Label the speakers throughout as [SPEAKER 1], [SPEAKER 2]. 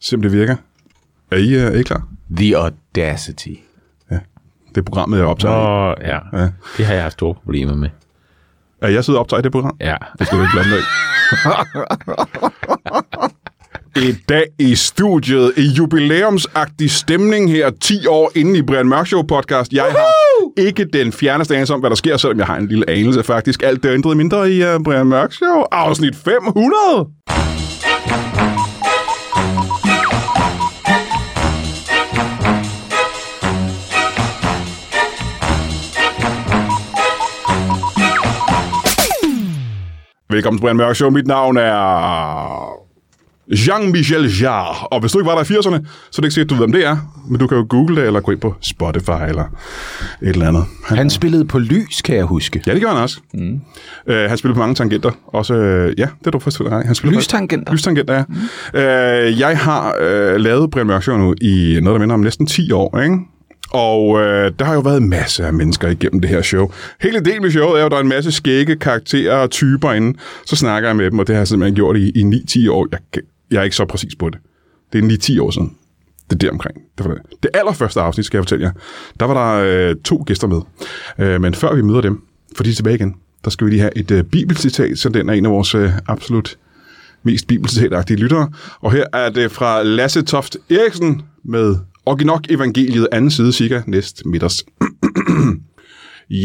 [SPEAKER 1] Simpelthen virker. Er I, øh, er I klar?
[SPEAKER 2] The Audacity.
[SPEAKER 1] Det er programmet, jeg optager. i.
[SPEAKER 3] Og ja,
[SPEAKER 1] Ja.
[SPEAKER 3] det har jeg haft store problemer med.
[SPEAKER 1] Er jeg siddet og optager i det program?
[SPEAKER 3] Ja.
[SPEAKER 1] Det skal du ikke blande dig i. I dag i studiet, i jubilæumsagtig stemning her, 10 år inde i Brian Mørk Show podcast. Jeg har ikke den fjerneste anelse om, hvad der sker, selvom jeg har en lille anelse faktisk. Alt det ændrede mindre i uh, Brian Mørk Show, afsnit 500. Velkommen til Brian Mørk Show. Mit navn er... Jean-Michel Jarre. Og hvis du ikke var der i 80'erne, så er det ikke sikkert, du ved, hvem det er. Men du kan jo google det, eller gå ind på Spotify, eller et eller andet. Han,
[SPEAKER 2] Han spillede på lys, kan jeg huske.
[SPEAKER 1] ja, det gjorde han også. Mm. Øh, han spillede på mange tangenter. Også, øh, ja, det er du forstået ret i. Han spillede på-
[SPEAKER 2] Lystangenter?
[SPEAKER 1] Lystangenter, ja. Mm. Øh, jeg har øh, lavet Brian Mørk Show nu i noget, der minder om næsten 10 år, ikke? Og øh, der har jo været masser af mennesker igennem det her show. Hele delen med showet er jo, at der er en masse skægge karakterer og typer inde. Så snakker jeg med dem, og det har jeg simpelthen gjort i, i 9-10 år. Jeg, kan- jeg er ikke så præcis på det. Det er 9-10 år siden. Det er deromkring. Det, var det. det allerførste afsnit, skal jeg fortælle jer, der var der øh, to gæster med. Øh, men før vi møder dem, for de er tilbage igen, der skal vi lige have et øh, bibelcitat, så den er en af vores øh, absolut mest bibelcitatagtige lyttere. Og her er det fra Lasse Toft Eriksen med Orginok Evangeliet, anden side, cirka næst midterst.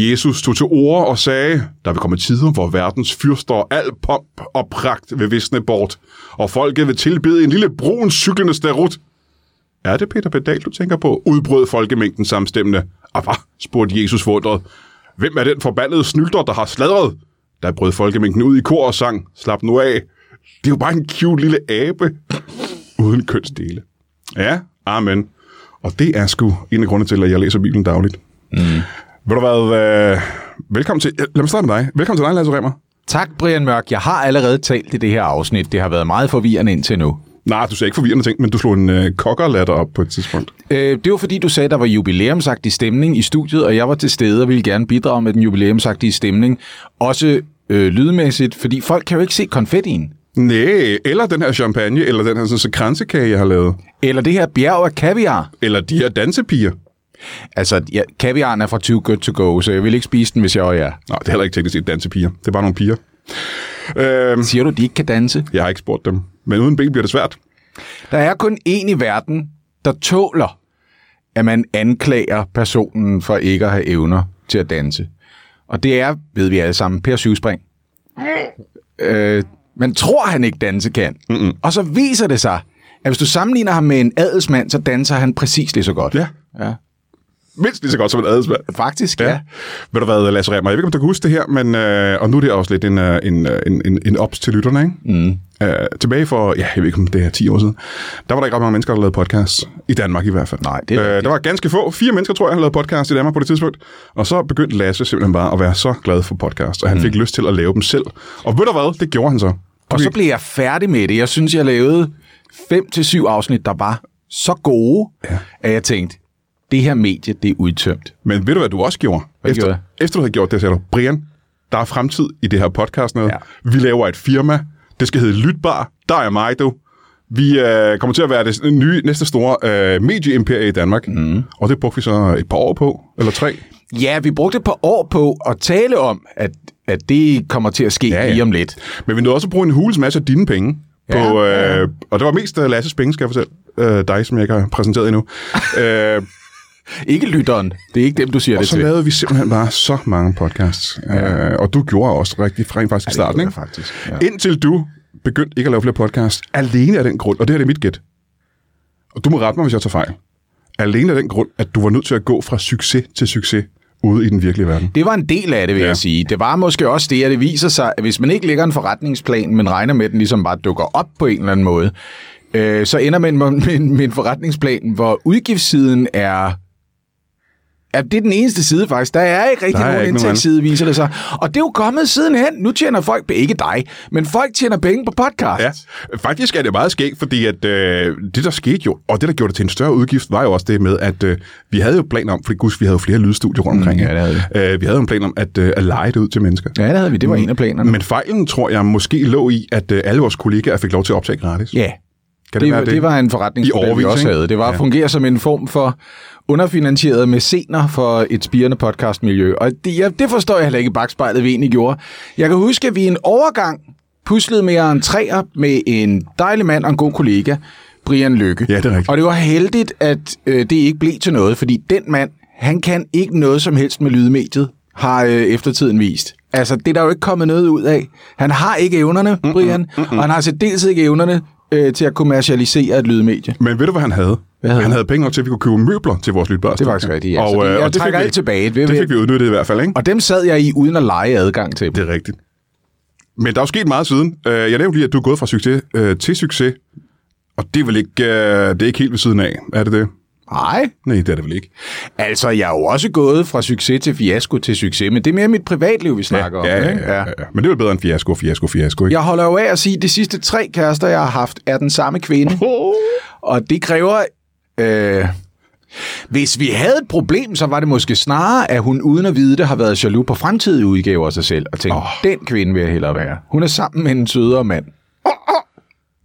[SPEAKER 1] Jesus tog til ord og sagde, der vil komme tider, hvor verdens fyrster og al pomp og pragt vil visne bort, og folket vil tilbede en lille brun cyklende starut. Er det Peter Pedal, du tænker på? Udbrød folkemængden samstemmende. Og hvad? spurgte Jesus forundret. Hvem er den forbandede snylder, der har sladret? Der brød folkemængden ud i kor og sang. Slap nu af. Det er jo bare en cute lille abe. Uden kønsdele. Ja, amen. Og det er sgu en af grundene til, at jeg læser Bibelen dagligt. Mm. Ved du hvad? Øh, velkommen til... øh, Lad mig starte med dig. Velkommen til dig, Lasse Remmer.
[SPEAKER 2] Tak, Brian Mørk. Jeg har allerede talt i det her afsnit. Det har været meget forvirrende indtil nu.
[SPEAKER 1] Nej, du sagde ikke forvirrende ting, men du slog en øh, kokkerlatter op på et tidspunkt.
[SPEAKER 2] Øh, det var fordi, du sagde, der var jubilæumsagtig stemning i studiet, og jeg var til stede og ville gerne bidrage med den jubilæumsagtige stemning. Også øh, lydmæssigt, fordi folk kan jo ikke se konfettien.
[SPEAKER 1] Nej, eller den her champagne, eller den her sådan, så kransekage, jeg har lavet.
[SPEAKER 2] Eller det her bjerg af kaviar.
[SPEAKER 1] Eller de her dansepiger.
[SPEAKER 2] Altså, ja, kaviaren er fra Too Good To Go, så jeg vil ikke spise den, hvis jeg var jer.
[SPEAKER 1] Nej, det er heller ikke teknisk set dansepiger. Det er bare nogle piger. Øhm,
[SPEAKER 2] Siger du, de ikke kan danse?
[SPEAKER 1] jeg har ikke spurgt dem. Men uden ben bliver det svært.
[SPEAKER 2] Der er kun én i verden, der tåler, at man anklager personen for ikke at have evner til at danse. Og det er, ved vi alle sammen, Per Syvspring. Øh, man tror, han ikke danse kan. Mm-mm. Og så viser det sig, at hvis du sammenligner ham med en adelsmand, så danser han præcis lige så godt.
[SPEAKER 1] Ja.
[SPEAKER 2] ja.
[SPEAKER 1] Mindst lige så godt som en adelsmand.
[SPEAKER 2] Faktisk, ja. ja.
[SPEAKER 1] Ved du hvad, Lasse Remmer, jeg ved ikke, om du kan huske det her, men, øh, og nu er det også lidt en, øh, en, øh, en, en, en ops til lytterne, ikke? Mm. Øh, tilbage for, ja, jeg ved ikke, om det er 10 år siden, der var der ikke ret mange mennesker, der lavede podcast. I Danmark i hvert fald.
[SPEAKER 2] Nej, det er
[SPEAKER 1] øh,
[SPEAKER 2] rigtigt.
[SPEAKER 1] Der var ganske få, fire mennesker, tror jeg, der lavede podcast i Danmark på det tidspunkt. Og så begyndte Lasse simpelthen bare at være så glad for podcast, og han mm. fik lyst til at lave dem selv. Og ved du hvad, det gjorde han så.
[SPEAKER 2] Og så blev jeg færdig med det. Jeg synes, jeg lavede 5 til syv afsnit, der var så gode, ja. at jeg tænkte, det her medie, det er udtømt.
[SPEAKER 1] Men ved du, hvad du også gjorde?
[SPEAKER 2] Hvad
[SPEAKER 1] efter,
[SPEAKER 2] gjorde
[SPEAKER 1] efter du havde gjort det, sagde du, Brian, der er fremtid i det her podcast noget.
[SPEAKER 2] Ja.
[SPEAKER 1] Vi laver et firma. Det skal hedde Lytbar. Der er mig, du. Vi øh, kommer til at være det nye, næste store øh, medieimperie i Danmark.
[SPEAKER 2] Mhm.
[SPEAKER 1] Mm. Og det brugte vi så et par år på, eller tre.
[SPEAKER 2] Ja, vi brugte et par år på at tale om, at, at det kommer til at ske ja,
[SPEAKER 1] Ja,
[SPEAKER 2] ja.
[SPEAKER 1] ja.
[SPEAKER 2] lige om lidt.
[SPEAKER 1] Men vi nåede også at bruge en hules masse af dine penge. På,
[SPEAKER 2] Ja,
[SPEAKER 1] øh, Og det var mest øh, Lasses penge, skal jeg fortælle øh, dig, som jeg ikke har præsenteret endnu. øh,
[SPEAKER 2] Ikke lytteren. Det er ikke dem, du siger
[SPEAKER 1] og
[SPEAKER 2] det
[SPEAKER 1] så
[SPEAKER 2] til.
[SPEAKER 1] lavede vi simpelthen bare så mange podcasts. Ja. Øh, og du gjorde også rigtig rent faktisk i starten, ikke?
[SPEAKER 2] faktisk.
[SPEAKER 1] Ja. Indtil du begyndte ikke at lave flere podcasts, alene af den grund, og det her det er mit gæt, og du må rette mig, hvis jeg tager fejl, alene af den grund, at du var nødt til at gå fra succes til succes ude i den virkelige verden.
[SPEAKER 2] Det var en del af det, vil ja.
[SPEAKER 1] Ja.
[SPEAKER 2] jeg sige. Det var måske også det, at det viser sig, at hvis man ikke lægger en forretningsplan, men regner med, at den ligesom bare dukker op på en eller anden måde, øh, så ender man med, med, med en forretningsplan, hvor udgiftssiden er... Ja, det er den eneste side faktisk. Der er ikke rigtig
[SPEAKER 1] Der er
[SPEAKER 2] nogen
[SPEAKER 1] ikke nogen
[SPEAKER 2] indtægtsside, viser det sig. Og det er jo kommet sidenhen. Nu tjener folk, ikke dig, men folk tjener penge på podcast.
[SPEAKER 1] Ja, faktisk er det meget skægt, fordi at, øh, det, der skete jo, og det, der gjorde det til en større udgift, var jo også det med, at øh, vi havde jo planer om, fordi guds, vi havde jo flere lydstudier rundt omkring.
[SPEAKER 2] ja, det havde
[SPEAKER 1] vi. Øh, vi havde jo en plan om at, øh, at lege det ud til mennesker.
[SPEAKER 2] ja det havde vi. Det
[SPEAKER 1] Mm.
[SPEAKER 2] var en af planerne.
[SPEAKER 1] Men fejlen, tror jeg, måske lå i, at øh, alle vores kollegaer fik lov til at optage gratis.
[SPEAKER 2] Ja,
[SPEAKER 1] Kan det,
[SPEAKER 2] Det,
[SPEAKER 1] være
[SPEAKER 2] det, det var en forretningsmodel,
[SPEAKER 1] I
[SPEAKER 2] vi
[SPEAKER 1] årevis,
[SPEAKER 2] også
[SPEAKER 1] ikke?
[SPEAKER 2] havde. Det var at
[SPEAKER 1] Ja.
[SPEAKER 2] fungere som en form for underfinansieret mæscener for et spirende podcastmiljø. Og det, ja, det forstår jeg heller ikke i bagspejlet, vi egentlig gjorde. Jeg kan huske, at vi i en overgang puslede med en træer med en dejlig mand og en god kollega, Brian Lykke.
[SPEAKER 1] Ja, det er rigtigt.
[SPEAKER 2] Og det var heldigt, at øh, det ikke blev til noget, fordi den mand, han kan ikke noget som helst med lydmediet, har øh, eftertiden vist. Altså, det er der jo ikke kommet noget ud af. Han har ikke evnerne, Brian, og han har særdeles ikke evnerne øh, til at kommercialisere et lydmedie.
[SPEAKER 1] Men ved du, hvad han havde?
[SPEAKER 2] Hvad havde
[SPEAKER 1] han
[SPEAKER 2] han?
[SPEAKER 1] havde penge nok til, at vi kunne købe møbler til vores lytbare.
[SPEAKER 2] Det er faktisk rigtigt, ja. Så
[SPEAKER 1] Og,
[SPEAKER 2] det-
[SPEAKER 1] øh,
[SPEAKER 2] jeg
[SPEAKER 1] og det fik
[SPEAKER 2] trækker
[SPEAKER 1] vi-
[SPEAKER 2] alt tilbage. Det-
[SPEAKER 1] Det fik vi udnyttet i hvert fald, ikke?
[SPEAKER 2] Og dem sad jeg i, uden at lege adgang til dem.
[SPEAKER 1] Det er rigtigt. Men der er jo sket meget siden. Øh, Jeg nævnte lige, at du er gået fra succes øh, til succes. Og det er vel ikke, øh, det er ikke helt ved siden af, er det det?
[SPEAKER 2] Nej,
[SPEAKER 1] Nej, det er det vel ikke.
[SPEAKER 2] altså jeg er jo også gået fra succes til fiasko til succes, men det er mere mit privatliv, vi snakker om.
[SPEAKER 1] ja,
[SPEAKER 2] ikke?
[SPEAKER 1] ja, ja, ja. Men det er jo bedre end fiasko, fiasko, fiasko, ikke?
[SPEAKER 2] Jeg holder jo af at sige, at de sidste tre kærester, jeg har haft, er den samme kvinde. Og det kræver... Øh, hvis vi havde et problem, så var det måske snarere, at hun uden at vide det har været jaloux på fremtidige udgaver af sig selv. Og tænkt, oh. den kvinde vil jeg hellere være. Hun er sammen med en sødere mand.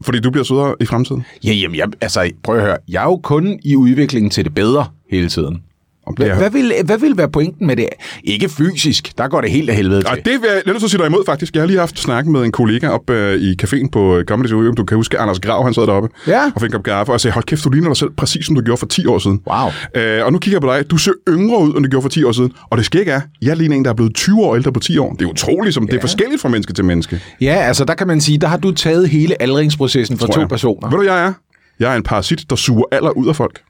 [SPEAKER 1] Fordi du bliver sødere i fremtiden.
[SPEAKER 2] Ja, jamen, jeg, altså, prøv at høre. Jeg er jo kun i udviklingen til det bedre hele tiden.
[SPEAKER 1] Om det
[SPEAKER 2] Hva,
[SPEAKER 1] er...
[SPEAKER 2] hvad, vil, hvad vil være pointen med det? Ikke fysisk. Der går det helt af helvede
[SPEAKER 1] Og
[SPEAKER 2] til.
[SPEAKER 1] det vil jeg lad os så sige dig imod, faktisk. Jeg har lige haft snakken med en kollega op øh, i caféen på øh, Comedy Zoo. Du kan huske, Anders Grav, han sad deroppe
[SPEAKER 2] Ja.
[SPEAKER 1] og fik en kop kaffe og sagde, hold kæft, du ligner dig selv præcis, som du gjorde for 10 år siden.
[SPEAKER 2] Wow.
[SPEAKER 1] Øh, og nu kigger jeg på dig. Du ser yngre ud, end du gjorde for 10 år siden. Og det skal ikke er, jeg ligner en, der er blevet 20 år ældre på 10 år. Det er utroligt, som ja. det er forskelligt fra menneske til menneske.
[SPEAKER 2] Ja, altså, der kan man sige, der har du taget hele aldringsprocessen for
[SPEAKER 1] tror
[SPEAKER 2] to
[SPEAKER 1] jeg.
[SPEAKER 2] personer.
[SPEAKER 1] Ved du, jeg er? Jeg er en parasit, der suger alder ud af folk.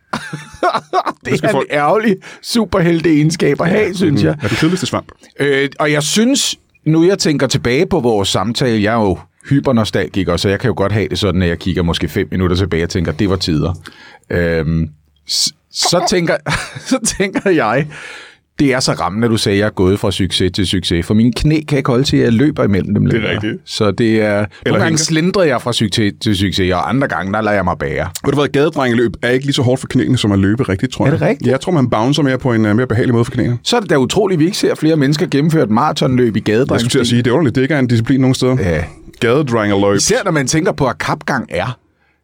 [SPEAKER 2] Det
[SPEAKER 1] skal
[SPEAKER 2] er en
[SPEAKER 1] folk-
[SPEAKER 2] ærgerlig superheldig egenskab at have, synes jeg.
[SPEAKER 1] Er den kedeligste svamp.
[SPEAKER 2] Øh, og jeg synes, nu jeg tænker tilbage på vores samtale, jeg er jo hypernostalgiker, så jeg kan jo godt have det sådan, at jeg kigger måske fem minutter tilbage og tænker, det var tider. Øhm, s- så, tænker, så tænker jeg, det er så rammende, du sagde, at jeg er gået fra succes til succes. For mine knæ kan ikke holde til, at jeg løber imellem dem længere.
[SPEAKER 1] rigtigt.
[SPEAKER 2] Så det er... Nogle gange
[SPEAKER 1] hænker.
[SPEAKER 2] slindrer jeg fra succes til succes, og andre gange, der lader jeg mig bære.
[SPEAKER 1] Ved du hvad, gadedrengeløb er ikke lige så hårdt for knæene, som at løbe rigtigt, tror jeg.
[SPEAKER 2] Er det rigtigt?
[SPEAKER 1] Ja, jeg tror, man bouncer mere på en øh, mere behagelig måde for knæene.
[SPEAKER 2] Så er det da utroligt, at vi ikke ser flere mennesker gennemføre et maratonløb i gadedrengen.
[SPEAKER 1] Jeg skulle til at sige, det er underligt, det ikke er en disciplin nogen steder.
[SPEAKER 2] Ja.
[SPEAKER 1] Gadedrengeløb.
[SPEAKER 2] Især når man tænker på, at kapgang er.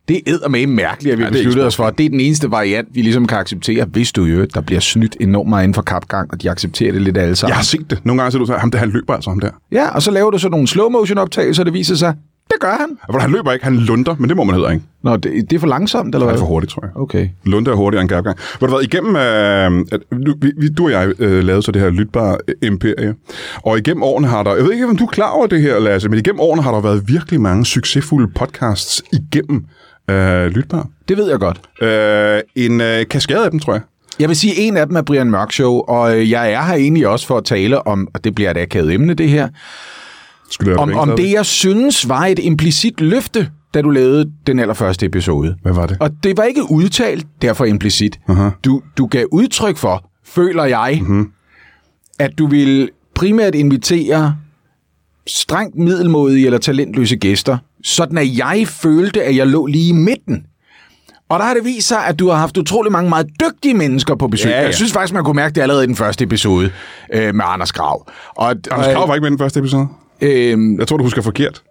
[SPEAKER 2] Det er med mærkeligt, at vi
[SPEAKER 1] Ja,
[SPEAKER 2] ja,
[SPEAKER 1] det er
[SPEAKER 2] besluttede
[SPEAKER 1] ikke
[SPEAKER 2] os for. Det er den eneste variant, vi ligesom kan acceptere. Hvis du jo, der bliver snydt enormt meget inden for kapgang, og de accepterer det lidt alle
[SPEAKER 1] Jeg
[SPEAKER 2] sammen.
[SPEAKER 1] har set det. Nogle gange ser du så, ham der, han løber altså ham der.
[SPEAKER 2] Ja. ja, og så laver du sådan nogle slow motion optagelser, og det viser sig, det gør han.
[SPEAKER 1] Og hvor han løber ikke, han lunder, men det må man heller ikke.
[SPEAKER 2] Nå, det, det er for langsomt, eller
[SPEAKER 1] Han er
[SPEAKER 2] hvad?
[SPEAKER 1] for hurtigt, tror jeg.
[SPEAKER 2] Okay.
[SPEAKER 1] Lunde er hurtigere end Gapgang. Hvor du været igennem, øh, at du, vi- vi, du og jeg øh, lavede så det her lytbare øh, imperie, og igennem årene har der, jeg ved ikke, om du er klar over det her, Lasse, men igennem årene har der været virkelig mange succesfulde podcasts igennem øh, lytbar.
[SPEAKER 2] Det ved jeg godt.
[SPEAKER 1] Øh, en øh, kaskade af dem, tror jeg.
[SPEAKER 2] Jeg vil sige, at en af dem er Brian Mørk Show, og øh, jeg er her egentlig også for at tale om, og det bliver et akavet emne, det her,
[SPEAKER 1] Skulle jeg
[SPEAKER 2] om,
[SPEAKER 1] være
[SPEAKER 2] om
[SPEAKER 1] bænket?
[SPEAKER 2] det, jeg synes var et implicit løfte, da du lavede den allerførste episode.
[SPEAKER 1] Hvad var det?
[SPEAKER 2] Og det var ikke udtalt, derfor implicit.
[SPEAKER 1] Aha. Mhm.
[SPEAKER 2] Du, du gav udtryk for, føler jeg, at du ville primært invitere strengt middelmodige eller talentløse gæster, sådan at jeg følte, at jeg lå lige i midten. Og der har det vist sig, at du har haft utrolig mange meget dygtige mennesker på besøg.
[SPEAKER 1] Ja, ja.
[SPEAKER 2] Jeg synes faktisk, man kunne mærke det allerede i den første episode øh, med Anders Grav. Og,
[SPEAKER 1] Anders Krav var ikke med i den første episode.
[SPEAKER 2] Øh,
[SPEAKER 1] Jeg tror, du husker forkert.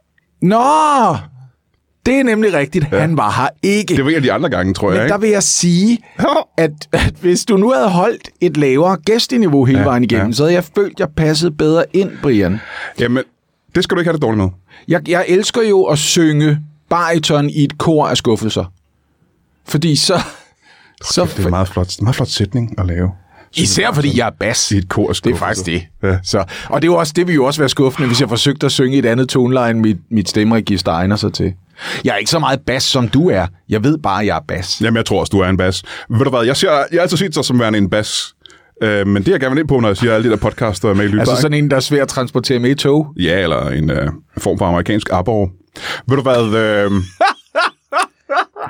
[SPEAKER 2] nå, det er nemlig rigtigt. Ja. Han var her ikke.
[SPEAKER 1] Det var en af de andre gange, tror jeg.
[SPEAKER 2] Men
[SPEAKER 1] ikke?
[SPEAKER 2] der vil jeg sige, at, at hvis du nu havde holdt et lavere gæsteniveau hele ja, vejen igennem,
[SPEAKER 1] ja.
[SPEAKER 2] ja. så havde jeg følt, jeg passede bedre ind, Brian.
[SPEAKER 1] Jamen, det skal du ikke have det dårligt med.
[SPEAKER 2] Jeg, jeg elsker jo at synge bariton i et kor af skuffelser. Fordi så... så
[SPEAKER 1] Det er en meget flot, meget flot sætning at lave.
[SPEAKER 2] især fordi jeg er bas.
[SPEAKER 1] I et kor af
[SPEAKER 2] Det er
[SPEAKER 1] skuffelser.
[SPEAKER 2] faktisk det.
[SPEAKER 1] Ja.
[SPEAKER 2] Ja. Så, og det, er jo også, det ville jo også være skuffende, hvis jeg forsøgte at synge i et andet toneleje, end mit, mit stemmeregister egner sig til. Jeg er ikke så meget bas, som du er. Jeg ved bare, at jeg er bas.
[SPEAKER 1] Jamen, jeg tror også, du er en bas. Ved du hvad, jeg, ser, jeg har altid set dig som værende en bas. Øh, men det, jeg gerne vil ind på, når jeg siger alle de der podcaster med i lytbar,
[SPEAKER 2] Altså
[SPEAKER 1] altså,
[SPEAKER 2] sådan en, der er svær at transportere med i tog.
[SPEAKER 1] Ja, eller en øh, form for amerikansk arbor. Ved du hvad, øh,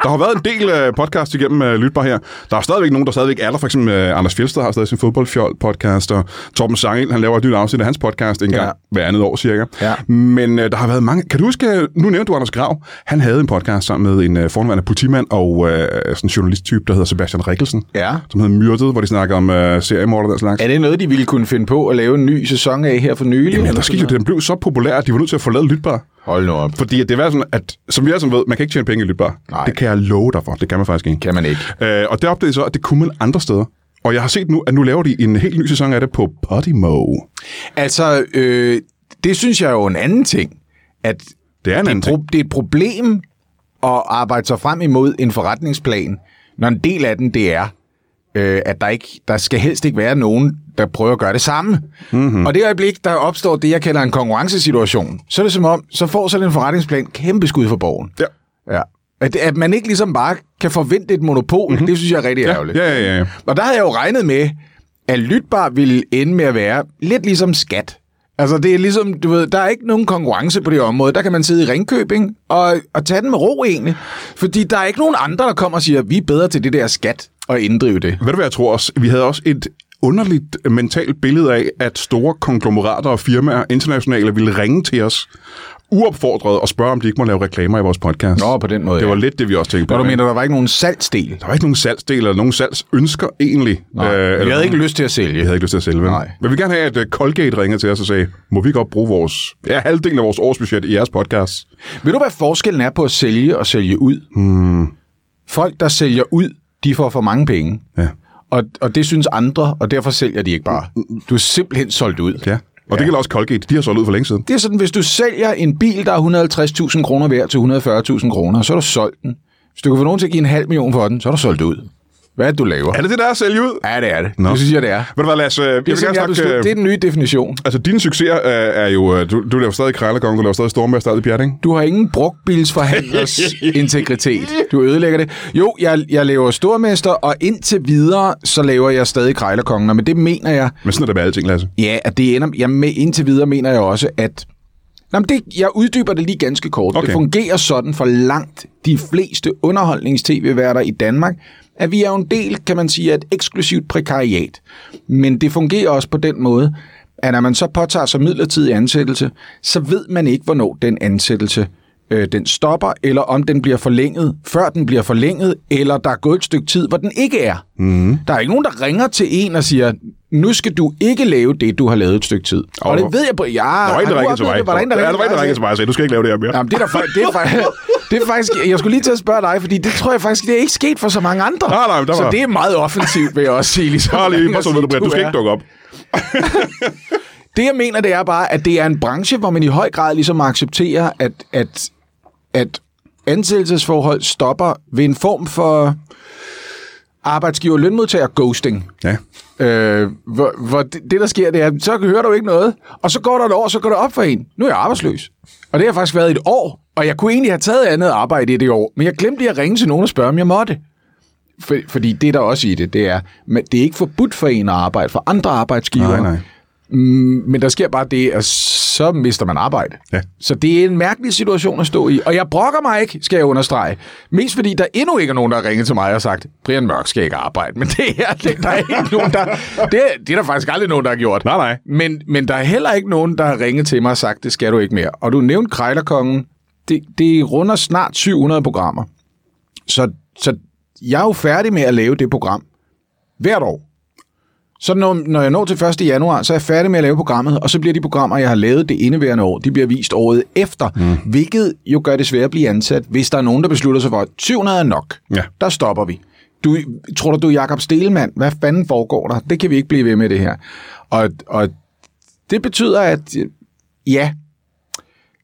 [SPEAKER 1] der har været en del øh, podcast igennem øh, Lytbar her. Der er stadigvæk nogen, der stadigvæk er der. For eksempel øh, Anders Fjeldsted har stadig sin fodboldfjold-podcast, og Torben Sangel, han laver et nyt afsnit af hans podcast en
[SPEAKER 2] Ja.
[SPEAKER 1] gang hver andet år cirka.
[SPEAKER 2] Ja.
[SPEAKER 1] Men øh, der har været mange... Kan du huske, øh, nu nævnte du Anders Grav. Han havde en podcast sammen med en øh, fornværende politimand og øh, sådan en journalisttype, der hedder Sebastian Rikkelsen.
[SPEAKER 2] Ja.
[SPEAKER 1] Som hedder Myrdet, hvor de snakker om øh, seriemorder og den slags.
[SPEAKER 2] Er det noget, de ville kunne finde på at lave en ny sæson af her for nylig?
[SPEAKER 1] Jamen, ja, der skete jo, det. den blev så populær, at de var nødt til at forlade Lytbar.
[SPEAKER 2] Hold nu op.
[SPEAKER 1] Fordi at det er sådan, at som vi alle sammen ved, man kan ikke tjene penge i lytbar.
[SPEAKER 2] Nej.
[SPEAKER 1] Det kan jeg love dig for. Det kan man faktisk ikke.
[SPEAKER 2] Kan man ikke.
[SPEAKER 1] Øh, og det opdagede jeg så, at det kunne man andre steder. Og jeg har set nu, at nu laver de en helt ny sæson af det på Podimo.
[SPEAKER 2] Altså, øh, det synes jeg er jo en anden ting, at
[SPEAKER 1] Det er en anden
[SPEAKER 2] det,
[SPEAKER 1] ting.
[SPEAKER 2] pro- det er et problem at arbejde sig frem imod en forretningsplan, når en del af den det er, øh, at der ikke der skal helst ikke være nogen, der prøver at gøre det samme. Mm-hmm. Og det øjeblik, der opstår det, jeg kalder en konkurrencesituation, så er det som om, så får sådan en forretningsplan kæmpe skud for borgen.
[SPEAKER 1] Ja.
[SPEAKER 2] Ja. At, at man ikke ligesom bare kan forvente et monopol, mm-hmm. det synes jeg er rigtig ærgerligt.
[SPEAKER 1] Mhm. Ja, ja, ja.
[SPEAKER 2] Og der havde jeg jo regnet med, at lytbar ville ende med at være lidt ligesom skat. Altså, det er ligesom, du ved, der er ikke nogen konkurrence på det område. Der kan man sidde i Ringkøbing og, og tage den med ro egentlig. Fordi der er ikke nogen andre, der kommer og siger, vi er bedre til det der skat og inddrive det.
[SPEAKER 1] Ved du hvad, jeg tror også? Vi havde også et underligt mentalt billede af, at store konglomerater og firmaer internationale ville ringe til os uopfordret og spørge, om de ikke må lave reklamer i vores podcast.
[SPEAKER 2] Nå, på den måde,
[SPEAKER 1] Det
[SPEAKER 2] ja.
[SPEAKER 1] var lidt det, vi også tænkte på.
[SPEAKER 2] Når du
[SPEAKER 1] ikke?
[SPEAKER 2] mener, der var ikke nogen salgsdel.
[SPEAKER 1] Der var ikke nogen salgsdel eller nogen salgsønsker egentlig. øh,
[SPEAKER 2] Nej, jeg havde ikke lyst til at sælge.
[SPEAKER 1] Jeg havde ikke lyst til at sælge, vel?
[SPEAKER 2] Nej.
[SPEAKER 1] Men vi vil gerne have, at øh, Colgate ringede til os og sagde, må vi godt bruge vores, ja, halvdelen af vores årsbudget i jeres podcast?
[SPEAKER 2] Ved du, hvad forskellen er på at sælge og sælge ud? Hmm. Folk, der sælger ud, de får for mange penge.
[SPEAKER 1] Ja.
[SPEAKER 2] Og, og det synes andre, og derfor sælger de ikke bare. Du er simpelthen solgt ud.
[SPEAKER 1] Ja. Og ja. det gælder også Colgate. De har solgt ud for længe siden.
[SPEAKER 2] Det er sådan, hvis du sælger en bil, der er 150.000 kroner værd til 140.000 kroner, så er du solgt den. Hvis du kan få nogen til at give en halv million for den, så er du solgt ud. Hvad er det, du laver?
[SPEAKER 1] Er det det, der er at sælge ud?
[SPEAKER 2] Ja, det er det.
[SPEAKER 1] Nå.
[SPEAKER 2] Nå. Det synes jeg, det er.
[SPEAKER 1] Ved du hvad, Lasse? Jeg
[SPEAKER 2] Det er,
[SPEAKER 1] vil
[SPEAKER 2] sådan, jeg har
[SPEAKER 1] gerne snakke...
[SPEAKER 2] besluttet. det
[SPEAKER 1] øh,
[SPEAKER 2] er den nye definition.
[SPEAKER 1] Altså, dine succeser øh, er jo... øh, Du, du laver stadig Krejlerkongen, du laver stadig Stormester, stadig Pjat, ikke?
[SPEAKER 2] Du har ingen brugtbilsforhandlers integritet. Du ødelægger det. Jo, jeg, jeg laver stormester, og indtil videre, så laver jeg stadig krejlerkongen. Og med det mener jeg,
[SPEAKER 1] Men sådan er det med alting, Lasse.
[SPEAKER 2] Ja, at det ender... Jeg med, indtil videre mener jeg også, at... Nå, men det, jeg uddyber det lige ganske kort.
[SPEAKER 1] Okay.
[SPEAKER 2] Det fungerer sådan for langt de fleste underholdningstv-værter i Danmark, at vi er jo en del, kan man sige, af et eksklusivt prekariat. Men det fungerer også på den måde, at når man så påtager sig midlertidig ansættelse, så ved man ikke, hvornår den ansættelse øh, den stopper, eller om den bliver forlænget, før den bliver forlænget, eller der er gået et stykke tid, hvor den ikke er. Mm. Der er ikke nogen, der ringer til en og siger, nu skal du ikke lave det, du har lavet et stykke tid. Og,
[SPEAKER 1] Og
[SPEAKER 2] og
[SPEAKER 1] der-
[SPEAKER 2] det ved jeg på... Ja,
[SPEAKER 1] Der var en, der ringede til mig.
[SPEAKER 2] Var der en, der
[SPEAKER 1] Ja,
[SPEAKER 2] ringede
[SPEAKER 1] der var en, der ringede til mig og sagde, du skal ikke lave det her mere.
[SPEAKER 2] Jamen, det er, der, fa- det, er faktisk, det er faktisk... Jeg skulle lige til at spørge dig, fordi det tror jeg faktisk, det er ikke sket for så mange andre.
[SPEAKER 1] Nej, nej, men der
[SPEAKER 2] så
[SPEAKER 1] var-
[SPEAKER 2] det er meget offensivt, vil jeg også sige. Ligesom,
[SPEAKER 1] Bare lige,
[SPEAKER 2] Ring
[SPEAKER 1] bare
[SPEAKER 2] og
[SPEAKER 1] så
[SPEAKER 2] sige,
[SPEAKER 1] ved du, Britt, du skal
[SPEAKER 2] er-
[SPEAKER 1] ikke dukke op.
[SPEAKER 2] det jeg mener, det er bare, at det er en branche, hvor man i høj grad ligesom accepterer, at, at, at ansættelsesforhold stopper ved en form for arbejdsgiver lønmodtager ghosting.
[SPEAKER 1] Ja.
[SPEAKER 2] Øh, hvor, hvor det, det, der sker, det er, så hører du ikke noget, og så går der et år, så går det op for en. Nu er jeg arbejdsløs. Og det har faktisk været et år, og jeg kunne egentlig have taget andet arbejde i det år, men jeg glemte lige at ringe til nogen og spørge, om jeg måtte. For, fordi det, der også i det, det er, men det er ikke forbudt for en at arbejde for andre
[SPEAKER 1] Nej,
[SPEAKER 2] arbejdsgivere.
[SPEAKER 1] nej.
[SPEAKER 2] Øhm, Men der sker bare det, at så mister man arbejde.
[SPEAKER 1] Ja.
[SPEAKER 2] Så det er en mærkelig situation at stå i. Og jeg brokker mig ikke, skal jeg understrege. Mest fordi der endnu ikke er nogen, der har ringet til mig og sagt, Brian Mørk skal ikke arbejde. Men det er, det, der er ikke nogen, der... Det, er- det er der faktisk aldrig nogen, der har gjort.
[SPEAKER 1] Nej, nej.
[SPEAKER 2] Men, men der er heller ikke nogen, der har ringet til mig og sagt, det skal du ikke mere. Og du nævnte Krejlerkongen. Det, det runder snart 700 programmer. Så, så jeg er jo færdig med at lave det program. Hvert år. Så når, når jeg når til 1. januar, så er jeg færdig med at lave programmet, og så bliver de programmer, jeg har lavet det indeværende år, de bliver vist året efter, mm. hvilket jo gør det svært at blive ansat, hvis der er nogen, der beslutter sig for, at 700 er nok.
[SPEAKER 1] Ja.
[SPEAKER 2] Der stopper vi. Du, tror du, du er Jakob Stelmand? Hvad fanden foregår der? Det kan vi ikke blive ved med det her. Og, og det betyder, at øh, ja,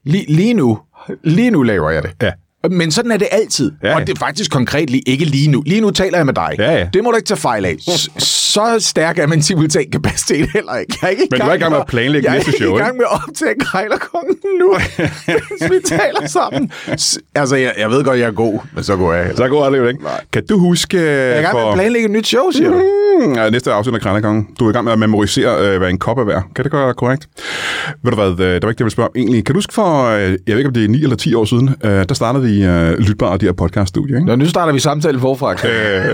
[SPEAKER 2] lige, lige nu, lige nu laver jeg det.
[SPEAKER 1] Ja.
[SPEAKER 2] Men sådan er det altid.
[SPEAKER 1] Ja, ja.
[SPEAKER 2] Og det er faktisk konkret lige, ikke lige nu. Lige nu taler jeg med dig.
[SPEAKER 1] Ja, ja.
[SPEAKER 2] Det må du ikke tage fejl af. S- så stærk er min simultankapacitet heller ikke. Jeg er ikke
[SPEAKER 1] Men du er i gang med at planlægge
[SPEAKER 2] jeg
[SPEAKER 1] næste
[SPEAKER 2] Jeg er
[SPEAKER 1] show,
[SPEAKER 2] ikke i gang med at optage Krejlerkongen nu, mens vi taler sammen. S- altså, jeg, jeg ved godt, jeg er god, men så går jeg heller.
[SPEAKER 1] Så god er det jo ikke. Kan du huske...
[SPEAKER 2] Jeg Mm-hmm. er i gang med at planlægge et nyt show, siger du?
[SPEAKER 1] Mm, ja, næste afsnit af Kranjekongen. Du er i gang med at memorisere, øh, hvad en kop er værd. Kan det gøre korrekt? Ved du hvad, øh, det var ikke det, jeg ville spørge om egentlig. Kan du huske for, øh, jeg ved ikke om det er 9 eller 10 år siden, øh, der startede vi øh, Lytbar og de her podcaststudier, ikke?
[SPEAKER 2] Nå, nu starter vi samtalen forfra. Kan.
[SPEAKER 1] Øh,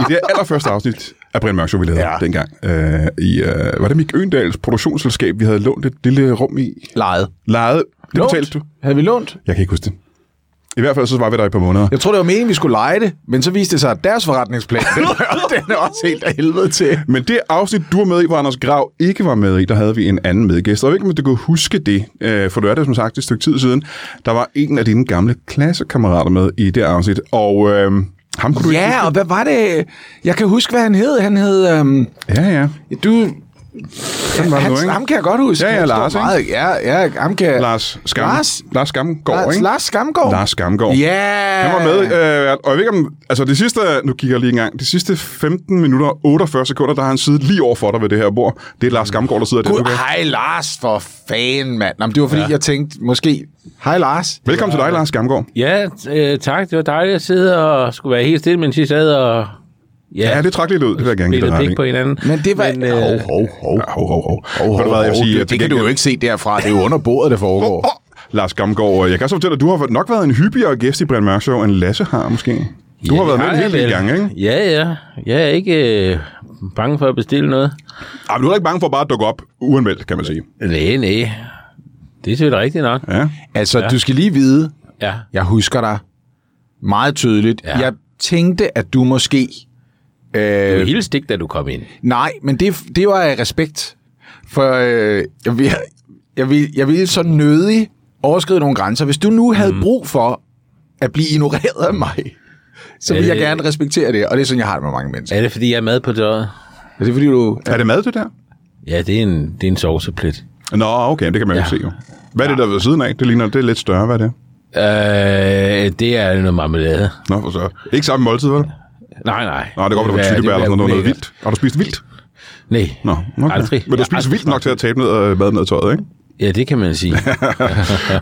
[SPEAKER 1] I det allerførste afsnit af Brian Mørk Show, vi lavede ja.
[SPEAKER 2] Ja.
[SPEAKER 1] dengang, øh, i, øh, var det Mik Øendals produktionsselskab, vi havde lånt et lille rum i,
[SPEAKER 2] Lejet.
[SPEAKER 1] lejet, det
[SPEAKER 2] Lånt?
[SPEAKER 1] betalte du.
[SPEAKER 2] Havde vi lånt?
[SPEAKER 1] Jeg kan ikke huske det. I hvert fald så var vi der i et par måneder.
[SPEAKER 2] Jeg tror, det var meningen, vi skulle lege det, men så viste det sig, at deres forretningsplan, den, den er også helt af helvede til.
[SPEAKER 1] Men det afsnit, du var med i, hvor Anders Grav ikke var med i, der havde vi en anden medgæst. Og jeg ved ikke, om du kunne huske det, øh, for du er det som sagt et stykke tid siden. Der var en af dine gamle klassekammerater med i det afsnit, og øh, ham kunne du ikke...
[SPEAKER 2] Ja, og hvad var det? Jeg kan huske, hvad han hed. Han hed... Øhm,
[SPEAKER 1] Ja, ja.
[SPEAKER 2] du,
[SPEAKER 1] Sådan var det
[SPEAKER 2] han,
[SPEAKER 1] nu, ikke?
[SPEAKER 2] ham kan jeg godt huske.
[SPEAKER 1] Ja, ja,
[SPEAKER 2] Han står
[SPEAKER 1] Lars, ikke?
[SPEAKER 2] meget, ja, ja, ham kan jeg...
[SPEAKER 1] Lars Skam... Lars,
[SPEAKER 2] Lars-
[SPEAKER 1] Lars Skamgaard,
[SPEAKER 2] Lars,
[SPEAKER 1] ikke?
[SPEAKER 2] Lars Skamgaard.
[SPEAKER 1] Lars Skamgaard.
[SPEAKER 2] Ja.
[SPEAKER 1] Han var med, øh, og jeg ved ikke om, altså de sidste, nu kigger jeg lige en gang, de sidste 15 minutter og 48 sekunder, der har han siddet lige over for dig ved det her bord. Det er Lars Skamgaard, der sidder der.
[SPEAKER 2] Gud,
[SPEAKER 1] Okay?
[SPEAKER 2] hej Lars, for fanden, mand. Nå, men det var fordi, ja. jeg tænkte, måske... Hej Lars.
[SPEAKER 1] Velkommen til dig, Lars Skamgaard.
[SPEAKER 3] Ja, t- øh, tak. Det var dejligt at sidde og skulle være helt stille, mens I sad og...
[SPEAKER 1] Ja, det trak lidt ud, det vil jeg gerne give dig
[SPEAKER 3] spillede
[SPEAKER 1] ret i.
[SPEAKER 3] pik på hinanden.
[SPEAKER 2] Men det var...
[SPEAKER 3] Men, øh,
[SPEAKER 2] hov, hov, hov.
[SPEAKER 1] Ja, Hov, hov, hov.
[SPEAKER 2] Hov,
[SPEAKER 1] Ved du
[SPEAKER 2] hov,
[SPEAKER 1] hvad, jeg vil
[SPEAKER 2] hov.
[SPEAKER 1] sige,
[SPEAKER 2] Det,
[SPEAKER 1] at til
[SPEAKER 2] det kan du
[SPEAKER 1] gengæld-
[SPEAKER 2] jo ikke se derfra. Det er jo under bordet, det foregår.
[SPEAKER 1] Åh, åh. Lars Gamgaard, øh, jeg kan så fortælle dig, at du har nok været en hyppigere gæst i Brian Mørk Show, end Lasse har måske. Du har
[SPEAKER 3] det
[SPEAKER 1] været med en
[SPEAKER 3] jeg
[SPEAKER 1] hel del
[SPEAKER 3] vel.
[SPEAKER 1] gange, ikke?
[SPEAKER 3] Ja, ja. Jeg er ikke øh, bange for at bestille noget.
[SPEAKER 1] Ej, men du er ikke bange for bare at dukke op uanmeldt, kan man sige.
[SPEAKER 3] Nej, nej. Det er selvfølgelig rigtigt nok.
[SPEAKER 1] Ja.
[SPEAKER 2] Altså, ja. du skal lige vide,
[SPEAKER 3] Ja.
[SPEAKER 2] jeg husker dig meget tydeligt. Ja.
[SPEAKER 3] Ja.
[SPEAKER 2] Jeg tænkte, at du måske...
[SPEAKER 3] Det var
[SPEAKER 2] Øh,
[SPEAKER 3] helt stik, da du kom ind.
[SPEAKER 2] nej, men det, det var af respekt. For øh, jeg, vil, jeg, vil, jeg ville så nødig overskride nogle grænser. Hvis du nu havde brug for at blive ignoreret af mig, så vil
[SPEAKER 3] Øh.
[SPEAKER 2] jeg gerne respektere det. Og det er sådan, jeg har det med mange mennesker.
[SPEAKER 3] Er det, fordi jeg er med på døret?
[SPEAKER 2] Er det fordi, du...
[SPEAKER 1] Er det mad, det der?
[SPEAKER 3] Ja, det er en, det er en sovseplet.
[SPEAKER 1] Nå, okay, det kan man jo
[SPEAKER 3] Ja.
[SPEAKER 1] se jo. Hvad er det, der er ved siden af? Det ligner, det er lidt større, hvad er det?
[SPEAKER 3] Øh, det er noget marmelade.
[SPEAKER 1] Nå, for så. Ikke samme måltid, vel?
[SPEAKER 3] Nej, nej.
[SPEAKER 1] Nej, det er godt, at det var
[SPEAKER 3] vil
[SPEAKER 1] tyttebær eller
[SPEAKER 3] være
[SPEAKER 1] sådan noget, noget
[SPEAKER 3] ulækkert.
[SPEAKER 1] vildt. Har du spist vildt?
[SPEAKER 3] Nej.
[SPEAKER 1] Nå, okay.
[SPEAKER 3] Aldrig.
[SPEAKER 1] Men du
[SPEAKER 3] Jeg har
[SPEAKER 1] spiser
[SPEAKER 3] aldrig
[SPEAKER 1] vildt nok til at tabe ned og mad ned i tøjet, ikke?
[SPEAKER 3] Ja, det kan man sige. det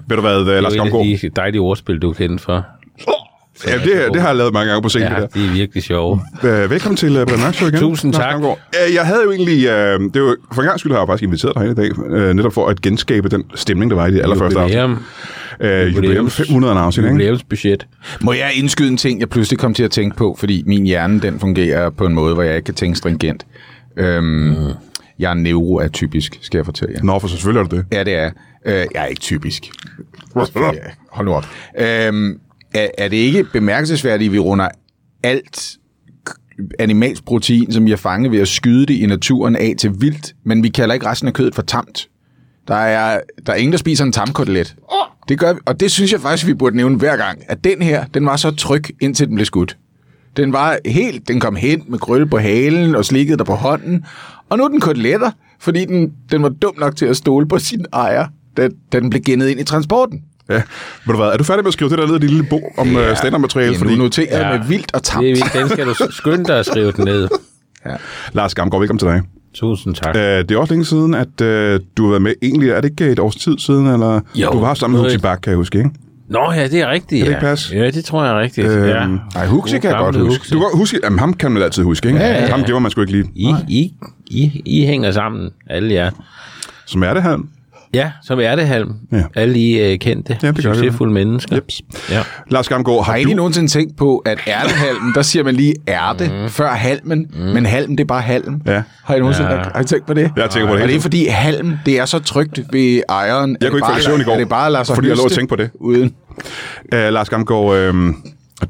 [SPEAKER 1] Ved du hvad, øh, Lars
[SPEAKER 3] er jo
[SPEAKER 1] Gamgaard?
[SPEAKER 3] et af de dejlige ordspil, du kender for.
[SPEAKER 1] Ja, det, det har jeg lavet mange gange på scenen, det
[SPEAKER 3] Ja,
[SPEAKER 1] der.
[SPEAKER 3] det er virkelig sjovt.
[SPEAKER 1] Øh, velkommen til uh, Brian Mørk Show igen.
[SPEAKER 3] Tusind
[SPEAKER 1] Lars
[SPEAKER 3] tak.
[SPEAKER 1] Damgaard. Øh, jeg havde jo egentlig, øh, det var, for en gang skyld har jeg faktisk inviteret dig her i dag, øh, netop for at genskabe den stemning, der var i det allerførste afsnit.
[SPEAKER 3] Jubilæum,
[SPEAKER 1] Øh, jubilæum
[SPEAKER 3] Jubilæums-
[SPEAKER 1] 500 afsnit, ikke?
[SPEAKER 3] jubilæumsbudget.
[SPEAKER 2] Må jeg indskyde en ting, jeg pludselig kom til at tænke på, fordi min hjerne den fungerer på en måde, hvor jeg ikke kan tænke stringent. Øhm, mm. Jeg er neuroatypisk, skal jeg fortælle jer.
[SPEAKER 1] Nå, for selvfølgelig er det det.
[SPEAKER 2] Ja, det er. Øh, jeg er ikke typisk. Ja, hold nu op. Øhm, er, er det ikke bemærkelsesværdigt, at vi runder alt k- animalsk protein, som vi har fanget ved at skyde det i naturen af til vildt, men vi kalder ikke resten af kødet for tamt. Der er, der er ingen, der spiser en tamkotelet. Det gør vi, og det synes jeg faktisk, vi burde nævne hver gang, at den her, den var så tryg, indtil den blev skudt. Den var helt, den kom hen med krølle på halen og slikkede dig på hånden, og nu er den koteletter, fordi den, den var dum nok til at stole på sin ejer, da, da den blev gennet ind i transporten.
[SPEAKER 1] Ja. Ved du hvad, er du færdig med at skrive det der ned i dit lille bog om ja. standardmateriale?
[SPEAKER 2] Jamen,
[SPEAKER 1] Fordi
[SPEAKER 2] du noterer
[SPEAKER 3] Ja.
[SPEAKER 2] ja. med vildt og tamt.
[SPEAKER 3] Det er vildt. Den skal du skynde dig at skrive den ned.
[SPEAKER 1] Lars Gamgaard, velkommen til dig.
[SPEAKER 3] Tusind tak.
[SPEAKER 1] Øh, det er også længe siden, at øh, du har været med. Egentlig er det ikke et års tid siden, eller
[SPEAKER 3] Jo.
[SPEAKER 1] du var sammen med
[SPEAKER 3] Noget-
[SPEAKER 1] Huxi Bak, kan jeg huske, ikke?
[SPEAKER 3] Nå ja, det er rigtigt.
[SPEAKER 1] Kan det
[SPEAKER 3] ja.
[SPEAKER 1] ikke passe?
[SPEAKER 3] Ja, det tror jeg er rigtigt.
[SPEAKER 1] Øhm,
[SPEAKER 3] ja.
[SPEAKER 2] Ej, Huxi kan jeg godt
[SPEAKER 3] Gamle
[SPEAKER 2] huske.
[SPEAKER 1] Du kan godt huske, jamen, ham kan man altid huske, ikke?
[SPEAKER 3] ja, ja.
[SPEAKER 1] Ham glemmer man sgu ikke lige.
[SPEAKER 3] I, I, I, I hænger sammen, alle jer.
[SPEAKER 1] Som er det her.
[SPEAKER 3] Ja, som er det, Halm.
[SPEAKER 1] Ja.
[SPEAKER 3] Alle I uh, kendte,
[SPEAKER 1] Ja, det gør vi.
[SPEAKER 3] succesfulde mennesker.
[SPEAKER 1] Jeps.
[SPEAKER 3] Ja.
[SPEAKER 1] Lars Gamgaard, har,
[SPEAKER 2] Har I
[SPEAKER 1] du...
[SPEAKER 2] egentlig nogensinde tænkt på, at ærtehalmen, der siger man lige ærte mm. før halmen, mm. men halm, det er bare halm.
[SPEAKER 1] Mhm. Ja.
[SPEAKER 2] Har I nogensinde ja. har I tænkt på det?
[SPEAKER 1] Jeg tænker på det hele
[SPEAKER 2] Og det
[SPEAKER 1] tiden.
[SPEAKER 2] er fordi halm, det er så trygt ved ejeren. at
[SPEAKER 1] Jeg kunne ikke
[SPEAKER 2] bare
[SPEAKER 1] falde i søvn i går,
[SPEAKER 2] at det bare lader sig
[SPEAKER 1] fordi jeg lå og
[SPEAKER 2] høste
[SPEAKER 1] tænkte på det.
[SPEAKER 2] Uden.
[SPEAKER 1] Uh, Lars Gamgaard, øh,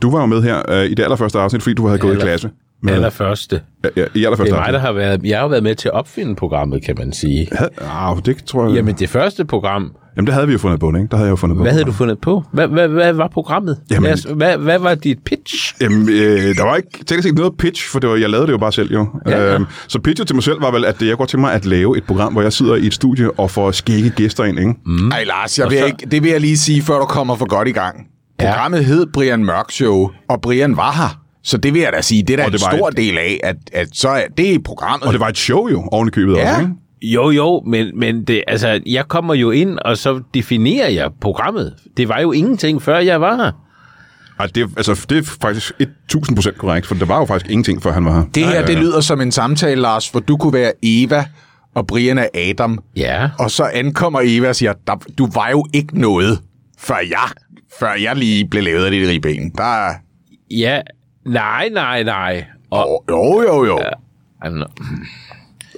[SPEAKER 1] du var jo med her øh, i det allerførste afsnit, fordi du havde gået i
[SPEAKER 3] Aller-
[SPEAKER 1] klasse. Med,
[SPEAKER 3] Allerførste.
[SPEAKER 1] ja, ja, I
[SPEAKER 3] Det
[SPEAKER 1] allerførste
[SPEAKER 3] er mig, der
[SPEAKER 1] afsnit.
[SPEAKER 3] har været... Jeg har jo været med til at opfinde programmet, kan man sige.
[SPEAKER 1] Havde, ah, det tror jeg... Jamen.
[SPEAKER 3] Jamen, det første program,
[SPEAKER 1] Jamen, der havde vi jo fundet på, det, ikke? Der havde jeg jo fundet på.
[SPEAKER 3] Hvad
[SPEAKER 1] det.
[SPEAKER 3] havde du fundet på? Hvad, hvad, hvad var programmet?
[SPEAKER 1] Jamen-
[SPEAKER 3] Jamen, altså, hvad, hvad var dit pitch?
[SPEAKER 1] Jamen, øh, der var ikke teknisk set noget pitch, for det var, jeg lavede det jo bare selv jo.
[SPEAKER 3] Ja, ja.
[SPEAKER 1] Øhm, så pitchet til mig selv var vel, at jeg godt tænke mig at lave et program, hvor jeg sidder i et studie og får skægge gæster ind, ikke? Mm.
[SPEAKER 2] Ej, Lars, jeg vil ikke, det vil jeg lige sige, før du kommer for godt i gang.
[SPEAKER 3] Ja.
[SPEAKER 2] Programmet hed Brian Mørk Show, og Brian var her. Så det vil jeg da sige, det er da
[SPEAKER 1] Og
[SPEAKER 2] en
[SPEAKER 1] det var
[SPEAKER 2] stor
[SPEAKER 1] et-
[SPEAKER 2] del af, at, at så er det i programmet.
[SPEAKER 1] Og det var et show jo, oven i købet
[SPEAKER 2] Ja.
[SPEAKER 1] også, ikke?
[SPEAKER 3] Jo, jo, men, men det, altså, jeg kommer jo ind, og så definerer jeg programmet. Det var jo ingenting, før jeg var her.
[SPEAKER 1] Ej, det, altså, det er faktisk 1000% korrekt, for der var jo faktisk ingenting, før han var her.
[SPEAKER 2] Det her, det lyder som en samtale, Lars, hvor du kunne være Eva, og Brian er Adam.
[SPEAKER 3] Ja.
[SPEAKER 2] Og så ankommer Eva og siger, "Der- du var jo ikke noget, før jeg, før jeg lige blev lavet af dit ribben. Der er...
[SPEAKER 3] Ja. Nej, nej, nej. Og,
[SPEAKER 2] Jo, jo, jo.
[SPEAKER 3] altså,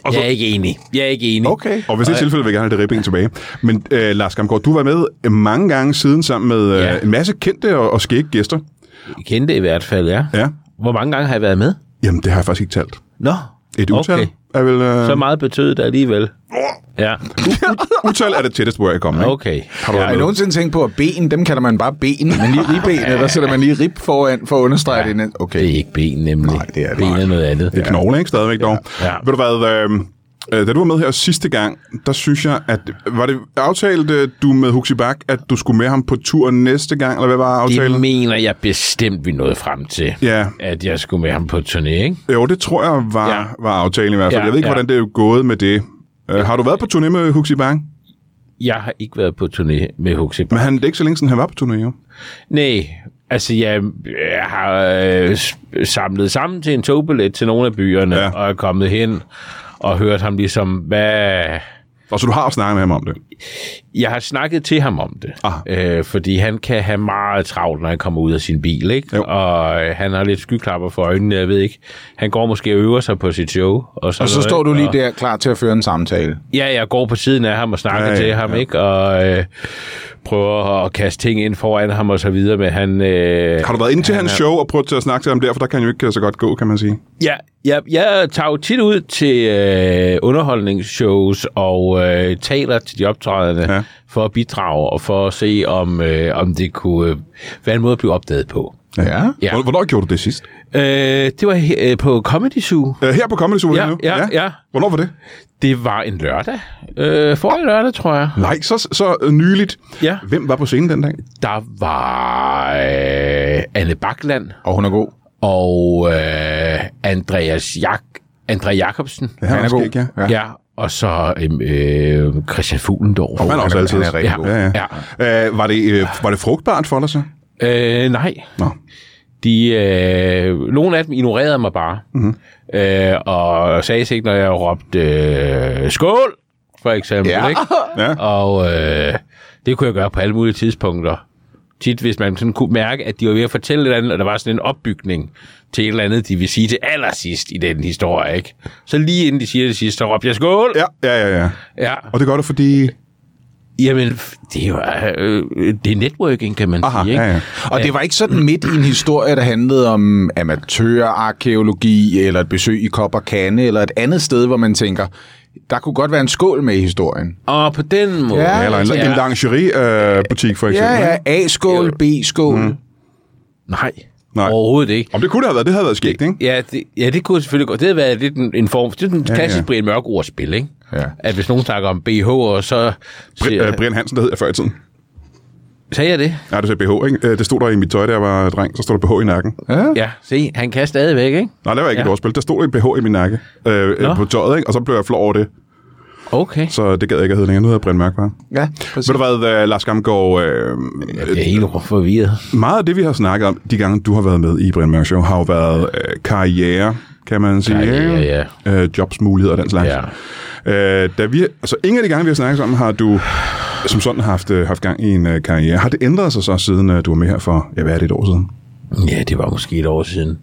[SPEAKER 1] Og
[SPEAKER 3] Jeg er ikke enig. Jeg er ikke enig.
[SPEAKER 2] Okay.
[SPEAKER 1] Og hvis det er tilfældet, vil jeg gerne have det ribben tilbage. Men øh, Lars Gamgaard, du var med mange gange siden sammen med øh,
[SPEAKER 3] Ja.
[SPEAKER 1] en masse kendte og, og skægge gæster.
[SPEAKER 3] Jeg kendte i hvert fald, ja.
[SPEAKER 1] Ja.
[SPEAKER 3] Hvor mange gange har jeg været med?
[SPEAKER 1] Jamen, det har jeg faktisk ikke talt.
[SPEAKER 3] Nå,
[SPEAKER 1] Et utal
[SPEAKER 3] Okay.
[SPEAKER 1] er vel... Øh,
[SPEAKER 3] Så meget betød det alligevel. Ja,
[SPEAKER 1] utal er det tætteste, hvor jeg er kommet. ikke?
[SPEAKER 3] okay.
[SPEAKER 1] Har du
[SPEAKER 2] Har I
[SPEAKER 1] været med?
[SPEAKER 2] nogensinde tænkt på, at ben, dem kalder man bare ben, men lige ribbenet, der sætter man lige rib foran for at understrege ja. det.
[SPEAKER 3] Det
[SPEAKER 2] Okay.
[SPEAKER 3] er ikke ben, nemlig.
[SPEAKER 2] Nej, det er det
[SPEAKER 3] ben
[SPEAKER 2] ikke.
[SPEAKER 3] er noget andet.
[SPEAKER 1] Det er knogle, ikke? Stadigvæk dog.
[SPEAKER 3] Ja.
[SPEAKER 1] Ved du hvad, øh, øh, da du var med her sidste gang, der synes jeg, at... Var det aftalt, øh, du med Huxi Bak, at du skulle med ham på tur næste gang, eller hvad var aftalen?
[SPEAKER 3] Det mener jeg bestemt, vi nåede frem til.
[SPEAKER 1] Ja.
[SPEAKER 3] At jeg skulle med ham på turné, ikke?
[SPEAKER 1] Jo, det tror jeg var,
[SPEAKER 3] Ja.
[SPEAKER 1] ja. var aftalen i hvert fald.
[SPEAKER 3] Ja,
[SPEAKER 1] jeg ved ikke,
[SPEAKER 3] ja.
[SPEAKER 1] hvordan det er gået med det. Uh, har du været på turné med Huxi Bang?
[SPEAKER 3] Jeg har ikke været på turné med Huxi.
[SPEAKER 1] Men han, det er ikke så længe siden, han var på turné, jo.
[SPEAKER 3] Nej, altså jeg, jeg har øh, s- samlet sammen til en togbillet til nogle af byerne,
[SPEAKER 1] Ja.
[SPEAKER 3] ja. og er kommet hen og hørt ham ligesom, hvad,
[SPEAKER 1] Og så du har snakket med ham om det.
[SPEAKER 3] Jeg har snakket til ham om det,
[SPEAKER 1] Aha.
[SPEAKER 3] øh, fordi han kan have meget travlt, når han kommer ud af sin bil, ikke?
[SPEAKER 1] Jo.
[SPEAKER 3] Og øh, han har lidt skyklapper for øjnene, jeg ved ikke. Han går måske og øver sig på sit show. Og, sådan
[SPEAKER 2] Og så
[SPEAKER 3] noget,
[SPEAKER 2] står du
[SPEAKER 3] ikke?
[SPEAKER 2] lige
[SPEAKER 3] og,
[SPEAKER 2] der klar til at føre en samtale.
[SPEAKER 3] Ja, jeg går på siden af ham og snakker
[SPEAKER 1] Ja,
[SPEAKER 3] ja,
[SPEAKER 1] ja,
[SPEAKER 3] ja, til ham,
[SPEAKER 1] ja.
[SPEAKER 3] ikke? Og øh, prøver at kaste ting ind foran ham og så videre, men han... Øh,
[SPEAKER 1] Har du været inde til hans show og prøvet til at snakke til ham der, for der kan han jo ikke øh, så godt gå, kan man sige.
[SPEAKER 3] Ja, jeg, jeg tager jo tit ud til øh, underholdningsshows og øh, taler til de optrædende
[SPEAKER 1] Ja.
[SPEAKER 3] ja. for at bidrage og for at se, om, øh, om det kunne øh, være en måde at blive opdaget på.
[SPEAKER 2] Ja.
[SPEAKER 3] Ja.
[SPEAKER 1] Hvor- Hvornår gjorde du det sidst?
[SPEAKER 3] Øh, det var he- øh, på Comedy Zoo.
[SPEAKER 1] Uh, her på Comedy Zoo
[SPEAKER 3] Ja,
[SPEAKER 1] nu?
[SPEAKER 3] ja, ja.
[SPEAKER 1] Hvornår var det?
[SPEAKER 3] Det var en lørdag. Øh, forrige lørdag, tror jeg.
[SPEAKER 1] Nej, så, så øh, nyligt.
[SPEAKER 3] Ja.
[SPEAKER 1] Hvem var på scenen den dag?
[SPEAKER 3] Der var øh, Anne Bakland
[SPEAKER 2] Og hun er god.
[SPEAKER 3] og øh, Andreas Jak André Jacobsen.
[SPEAKER 1] Ja, han
[SPEAKER 2] er
[SPEAKER 1] også
[SPEAKER 2] god.
[SPEAKER 1] gik, Ja.
[SPEAKER 2] Ja.
[SPEAKER 3] Ja. ja. Og så øhm, øh, Christian Fuglendorf.
[SPEAKER 1] Han er også
[SPEAKER 2] Oh, han er-
[SPEAKER 1] altid.
[SPEAKER 2] han er rigtig
[SPEAKER 1] ja.
[SPEAKER 2] god.
[SPEAKER 1] Ja, ja.
[SPEAKER 3] Ja.
[SPEAKER 1] Uh, var, det, øh, var det frugtbart for dig så?
[SPEAKER 3] Øh, nej.
[SPEAKER 1] Nå.
[SPEAKER 3] De, øh, nogle af dem ignorerede mig bare.
[SPEAKER 1] Mhm.
[SPEAKER 3] Mm-hmm. Øh, og sagde sig ikke, når jeg råbte øh, skål, for eksempel.
[SPEAKER 2] Ja.
[SPEAKER 3] Ikke?
[SPEAKER 1] Ja.
[SPEAKER 3] Og øh, det kunne jeg gøre på alle mulige tidspunkter. Tit, hvis man sådan kunne mærke, at de var ved at fortælle et eller andet, og der var sådan en opbygning til et eller andet, de vil sige til allersidst i den historie, ikke? Så lige inden de siger det sidste, så råbte jeg skål!
[SPEAKER 1] Ja, ja, ja. ja.
[SPEAKER 3] ja.
[SPEAKER 1] Og det gør du, fordi...
[SPEAKER 3] Jamen, f- det er jo øh, det er networking, kan man
[SPEAKER 1] Aha,
[SPEAKER 3] sige, ikke?
[SPEAKER 1] Ah, ja, ja.
[SPEAKER 2] Og det var ikke sådan midt i en historie, der handlede om amatørarkeologi, eller et besøg i Kop og Kande, eller et andet sted, hvor man tænker, der kunne godt være en skål med i historien.
[SPEAKER 3] Og på den måde...
[SPEAKER 2] Ja,
[SPEAKER 1] Ja, eller en,
[SPEAKER 2] altså,
[SPEAKER 1] en
[SPEAKER 3] ja.
[SPEAKER 1] lingerie-butik, for eksempel.
[SPEAKER 2] Ja,
[SPEAKER 1] ikke?
[SPEAKER 2] ja. A-skål, B-skål. Mm.
[SPEAKER 3] Nej,
[SPEAKER 1] Nej.
[SPEAKER 3] Nej. overhovedet ikke.
[SPEAKER 1] Om det kunne det have været, det havde været skægt, ikke?
[SPEAKER 3] Ja, det, ja, det kunne selvfølgelig godt. Det havde været lidt en, en form... Det er den
[SPEAKER 1] Ja, ja.
[SPEAKER 3] klassiske ja. Brian Mørk ordspil, ikke?
[SPEAKER 2] Ja.
[SPEAKER 3] At hvis nogen snakker om BH, og så...
[SPEAKER 1] Bri-
[SPEAKER 3] siger,
[SPEAKER 1] øh, Brian Hansen, der hed jeg før i tiden.
[SPEAKER 3] sagde jeg det?
[SPEAKER 1] Ja, du sagde BH, ikke? Øh, Det stod der i mit tøj, da jeg var dreng. Så stod der BH i nakken.
[SPEAKER 2] Ja.
[SPEAKER 3] Ja, se, han kan stadigvæk, ikke?
[SPEAKER 1] Nej, det var ikke ja.
[SPEAKER 3] Ja.
[SPEAKER 1] et ordspil. Der stod der BH i min nakke øh, øh,
[SPEAKER 3] Nå.
[SPEAKER 1] på tøjet, ikke? Og så blev jeg flov over det.
[SPEAKER 3] Okay.
[SPEAKER 1] Så det gad jeg ikke at hedde længere. Nu hedder jeg Brian Mørk, bare.
[SPEAKER 2] ja præcis.
[SPEAKER 1] Ved du hvad, øh, Lars Gamgaard? Øh,
[SPEAKER 3] Jeg er helt forvirret.
[SPEAKER 1] meget af det, vi har snakket om, de gange, du har været med i Brian Mørk Show, har jo været øh, karriere, kan man sige.
[SPEAKER 3] Karriere,
[SPEAKER 1] ikke? Øh, jobsmuligheder og den slags.
[SPEAKER 3] Ja.
[SPEAKER 1] Øh, da vi, altså, ingen af de gange, vi har snakket sammen, har du som sådan haft, øh, haft gang i en øh, karriere. Har det ændret sig så, siden øh, du var med her for, ja, hvad er det, et år siden?
[SPEAKER 3] Ja, det var måske et år siden.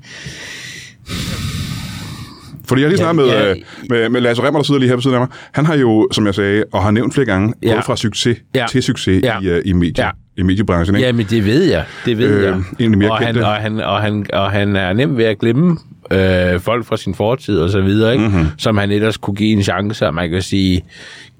[SPEAKER 1] Fordi jeg lige snakket med,
[SPEAKER 3] Ja, ja.
[SPEAKER 1] øh, med, med Lasse Remmer, der sidder lige her på siden af mig. Han har jo, som jeg sagde, og har nævnt flere gange,
[SPEAKER 3] Ja.
[SPEAKER 1] gået fra succes
[SPEAKER 3] Ja.
[SPEAKER 1] til succes
[SPEAKER 3] Ja.
[SPEAKER 1] i, øh, i, medie,
[SPEAKER 3] Ja.
[SPEAKER 1] i mediebranchen. Ikke?
[SPEAKER 3] Jamen, det ved jeg. Det ved
[SPEAKER 1] Øh,
[SPEAKER 3] øh, jeg.
[SPEAKER 1] en af de mere
[SPEAKER 3] og, han,
[SPEAKER 1] kendte.
[SPEAKER 3] og, han, og, han, og han er nem ved at glemme øh, folk fra sin fortid og så videre, ikke?
[SPEAKER 1] Mhm.
[SPEAKER 3] Mm-hmm. som han ellers kunne give en chance, og man kan sige,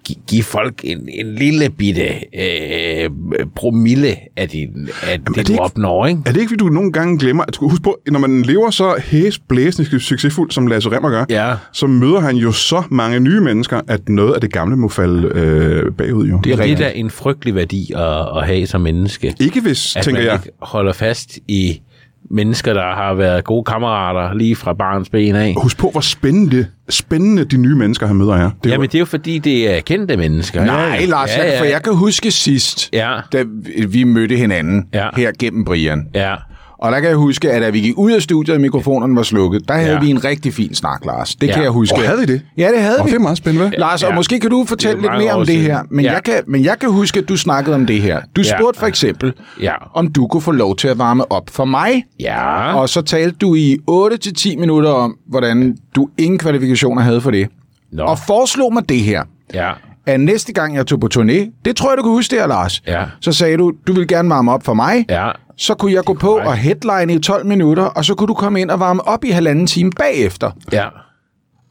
[SPEAKER 3] gi- give folk en, en lille bitte øh, promille af, din, af det,
[SPEAKER 1] det
[SPEAKER 3] det, du
[SPEAKER 1] ikke-
[SPEAKER 3] opnår. Ikke?
[SPEAKER 1] Er det ikke, fordi du nogle gange glemmer... At, husk på, når man lever så hæsblæsende succesfuldt, som Lasse Remmer gør,
[SPEAKER 3] Ja.
[SPEAKER 1] så møder han jo så mange nye mennesker, at noget af det gamle må falde øh, bagud. Jo.
[SPEAKER 3] Det er, det er da en frygtelig værdi at, at have som menneske.
[SPEAKER 1] Ikke hvis,
[SPEAKER 3] at
[SPEAKER 1] tænker
[SPEAKER 3] man
[SPEAKER 1] jeg...
[SPEAKER 3] ikke holder fast i mennesker, der har været gode kammerater lige fra barns ben af.
[SPEAKER 1] Husk på, hvor spændende, spændende de nye mennesker, han møder, er. Det er
[SPEAKER 3] Jamen, det er jo fordi, det er kendte mennesker. ikke?
[SPEAKER 2] Nej, Lars, ja, ja. for jeg kan huske sidst,
[SPEAKER 3] Ja.
[SPEAKER 2] da vi- vi mødte hinanden
[SPEAKER 3] Ja.
[SPEAKER 2] her gennem Brian.
[SPEAKER 3] Ja,
[SPEAKER 2] Og der kan jeg huske, at da vi gik ud af studiet, og mikrofonerne var slukket, der havde
[SPEAKER 3] Ja.
[SPEAKER 2] vi en rigtig fin snak, Lars. Det
[SPEAKER 3] Ja.
[SPEAKER 2] kan jeg huske.
[SPEAKER 1] Og havde I det?
[SPEAKER 2] Ja, det havde
[SPEAKER 1] Nå,
[SPEAKER 2] vi.
[SPEAKER 1] det er meget spændende, hva'?
[SPEAKER 2] Lars, og
[SPEAKER 3] Ja.
[SPEAKER 2] måske kan du fortælle
[SPEAKER 3] Det
[SPEAKER 2] lidt
[SPEAKER 3] er mange
[SPEAKER 2] mere
[SPEAKER 3] år
[SPEAKER 2] om det
[SPEAKER 3] siden.
[SPEAKER 2] her. Men,
[SPEAKER 3] Ja.
[SPEAKER 2] jeg kan, men jeg kan huske, at du snakkede om det her. Du
[SPEAKER 3] Ja.
[SPEAKER 2] spurgte for eksempel,
[SPEAKER 3] Ja.
[SPEAKER 2] om du kunne få lov til at varme op for mig.
[SPEAKER 3] ja.
[SPEAKER 2] Og så talte du i 8-10 minutter om, hvordan du ingen kvalifikationer havde for det.
[SPEAKER 3] Nå.
[SPEAKER 2] og foreslog mig det her.
[SPEAKER 3] Ja.
[SPEAKER 2] At næste gang jeg tog på turné, det tror jeg, du kan huske det her, Lars.
[SPEAKER 3] Ja.
[SPEAKER 2] Så sagde du, du vil gerne varme op for mig.
[SPEAKER 3] Ja.
[SPEAKER 2] Så kunne jeg gå på
[SPEAKER 3] korrekt.
[SPEAKER 2] og headline i 12 minutter, og så kunne du komme ind og varme op i halvanden time bagefter.
[SPEAKER 3] Ja.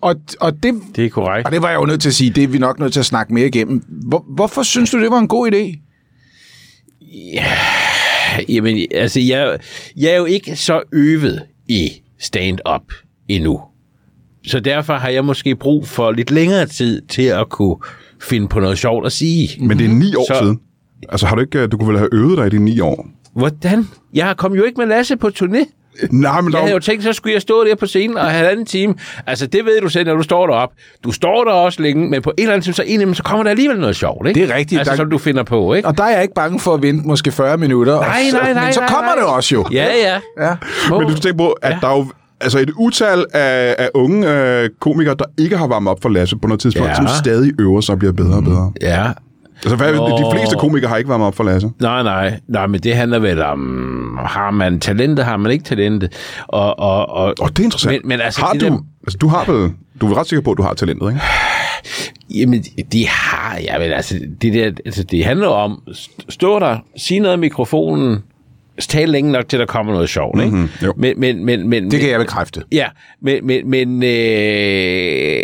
[SPEAKER 2] Og, og det,
[SPEAKER 3] Det er korrekt.
[SPEAKER 2] og det var jeg jo nødt til at sige, det er vi nok nødt til at snakke mere igennem. Hvor, hvorfor synes du, det var en god idé?
[SPEAKER 3] Jamen, altså, jeg, jeg er jo ikke så øvet i stand-up endnu. Så derfor har jeg måske brug for lidt længere tid til at kunne finde på noget sjovt at sige.
[SPEAKER 1] Men det er ni år så...
[SPEAKER 3] Så-
[SPEAKER 1] siden. Altså, har du ikke... øh, Du kunne vel have øvet dig i de ni år?
[SPEAKER 3] Hvordan? Jeg kom jo ikke med Lasse på turné.
[SPEAKER 1] Nej, men der
[SPEAKER 3] Jeg
[SPEAKER 1] var-
[SPEAKER 3] havde jo tænkt, så skulle jeg stå der på scenen og halvanden time. Altså, det ved du selv, når du står derop. Du står der også længe, men på en eller anden time, så, indimellem, så kommer der alligevel noget sjovt, ikke?
[SPEAKER 2] Det er rigtigt.
[SPEAKER 3] Altså,
[SPEAKER 2] Der-
[SPEAKER 3] som du finder på, ikke?
[SPEAKER 2] Og der er jeg ikke bange for at vente måske 40 minutter. og
[SPEAKER 3] Nej,
[SPEAKER 2] så,
[SPEAKER 3] nej, nej,
[SPEAKER 2] Men så
[SPEAKER 3] nej,
[SPEAKER 2] kommer
[SPEAKER 3] nej.
[SPEAKER 2] det også jo.
[SPEAKER 3] Ja, ja.
[SPEAKER 2] ja.
[SPEAKER 3] Små.
[SPEAKER 1] Men du skal tænke på, at ja. der er jo altså et utal af, af unge øh, komikere, der ikke har varmet op for Lasse på noget tidspunkt, ja.
[SPEAKER 3] Ja.
[SPEAKER 1] som stadig øver sig og bliver bedre og bedre.
[SPEAKER 3] Ja.
[SPEAKER 1] Altså, hvad,
[SPEAKER 3] Nå.
[SPEAKER 1] de fleste komikere har ikke varmet op for Lasse.
[SPEAKER 3] Nej, nej. Nej, men det handler vel om, har man talentet, har man ikke talentet? Og, og, og,
[SPEAKER 1] Og det er interessant.
[SPEAKER 3] Men, men altså,
[SPEAKER 1] har
[SPEAKER 3] det
[SPEAKER 1] du,
[SPEAKER 3] der-
[SPEAKER 1] altså, du har vel... Du er vel ret sikker på, at du har talentet, ikke?
[SPEAKER 3] Jamen, det har jeg vel. Altså, det, der, altså, det handler om, st- stå der, sig noget i mikrofonen, tal længe nok til, der kommer noget sjovt. Ikke?
[SPEAKER 1] Mhm, jo.
[SPEAKER 3] Men, men, men, men,
[SPEAKER 2] Det kan jeg bekræfte.
[SPEAKER 3] Ja, men, men, men øh,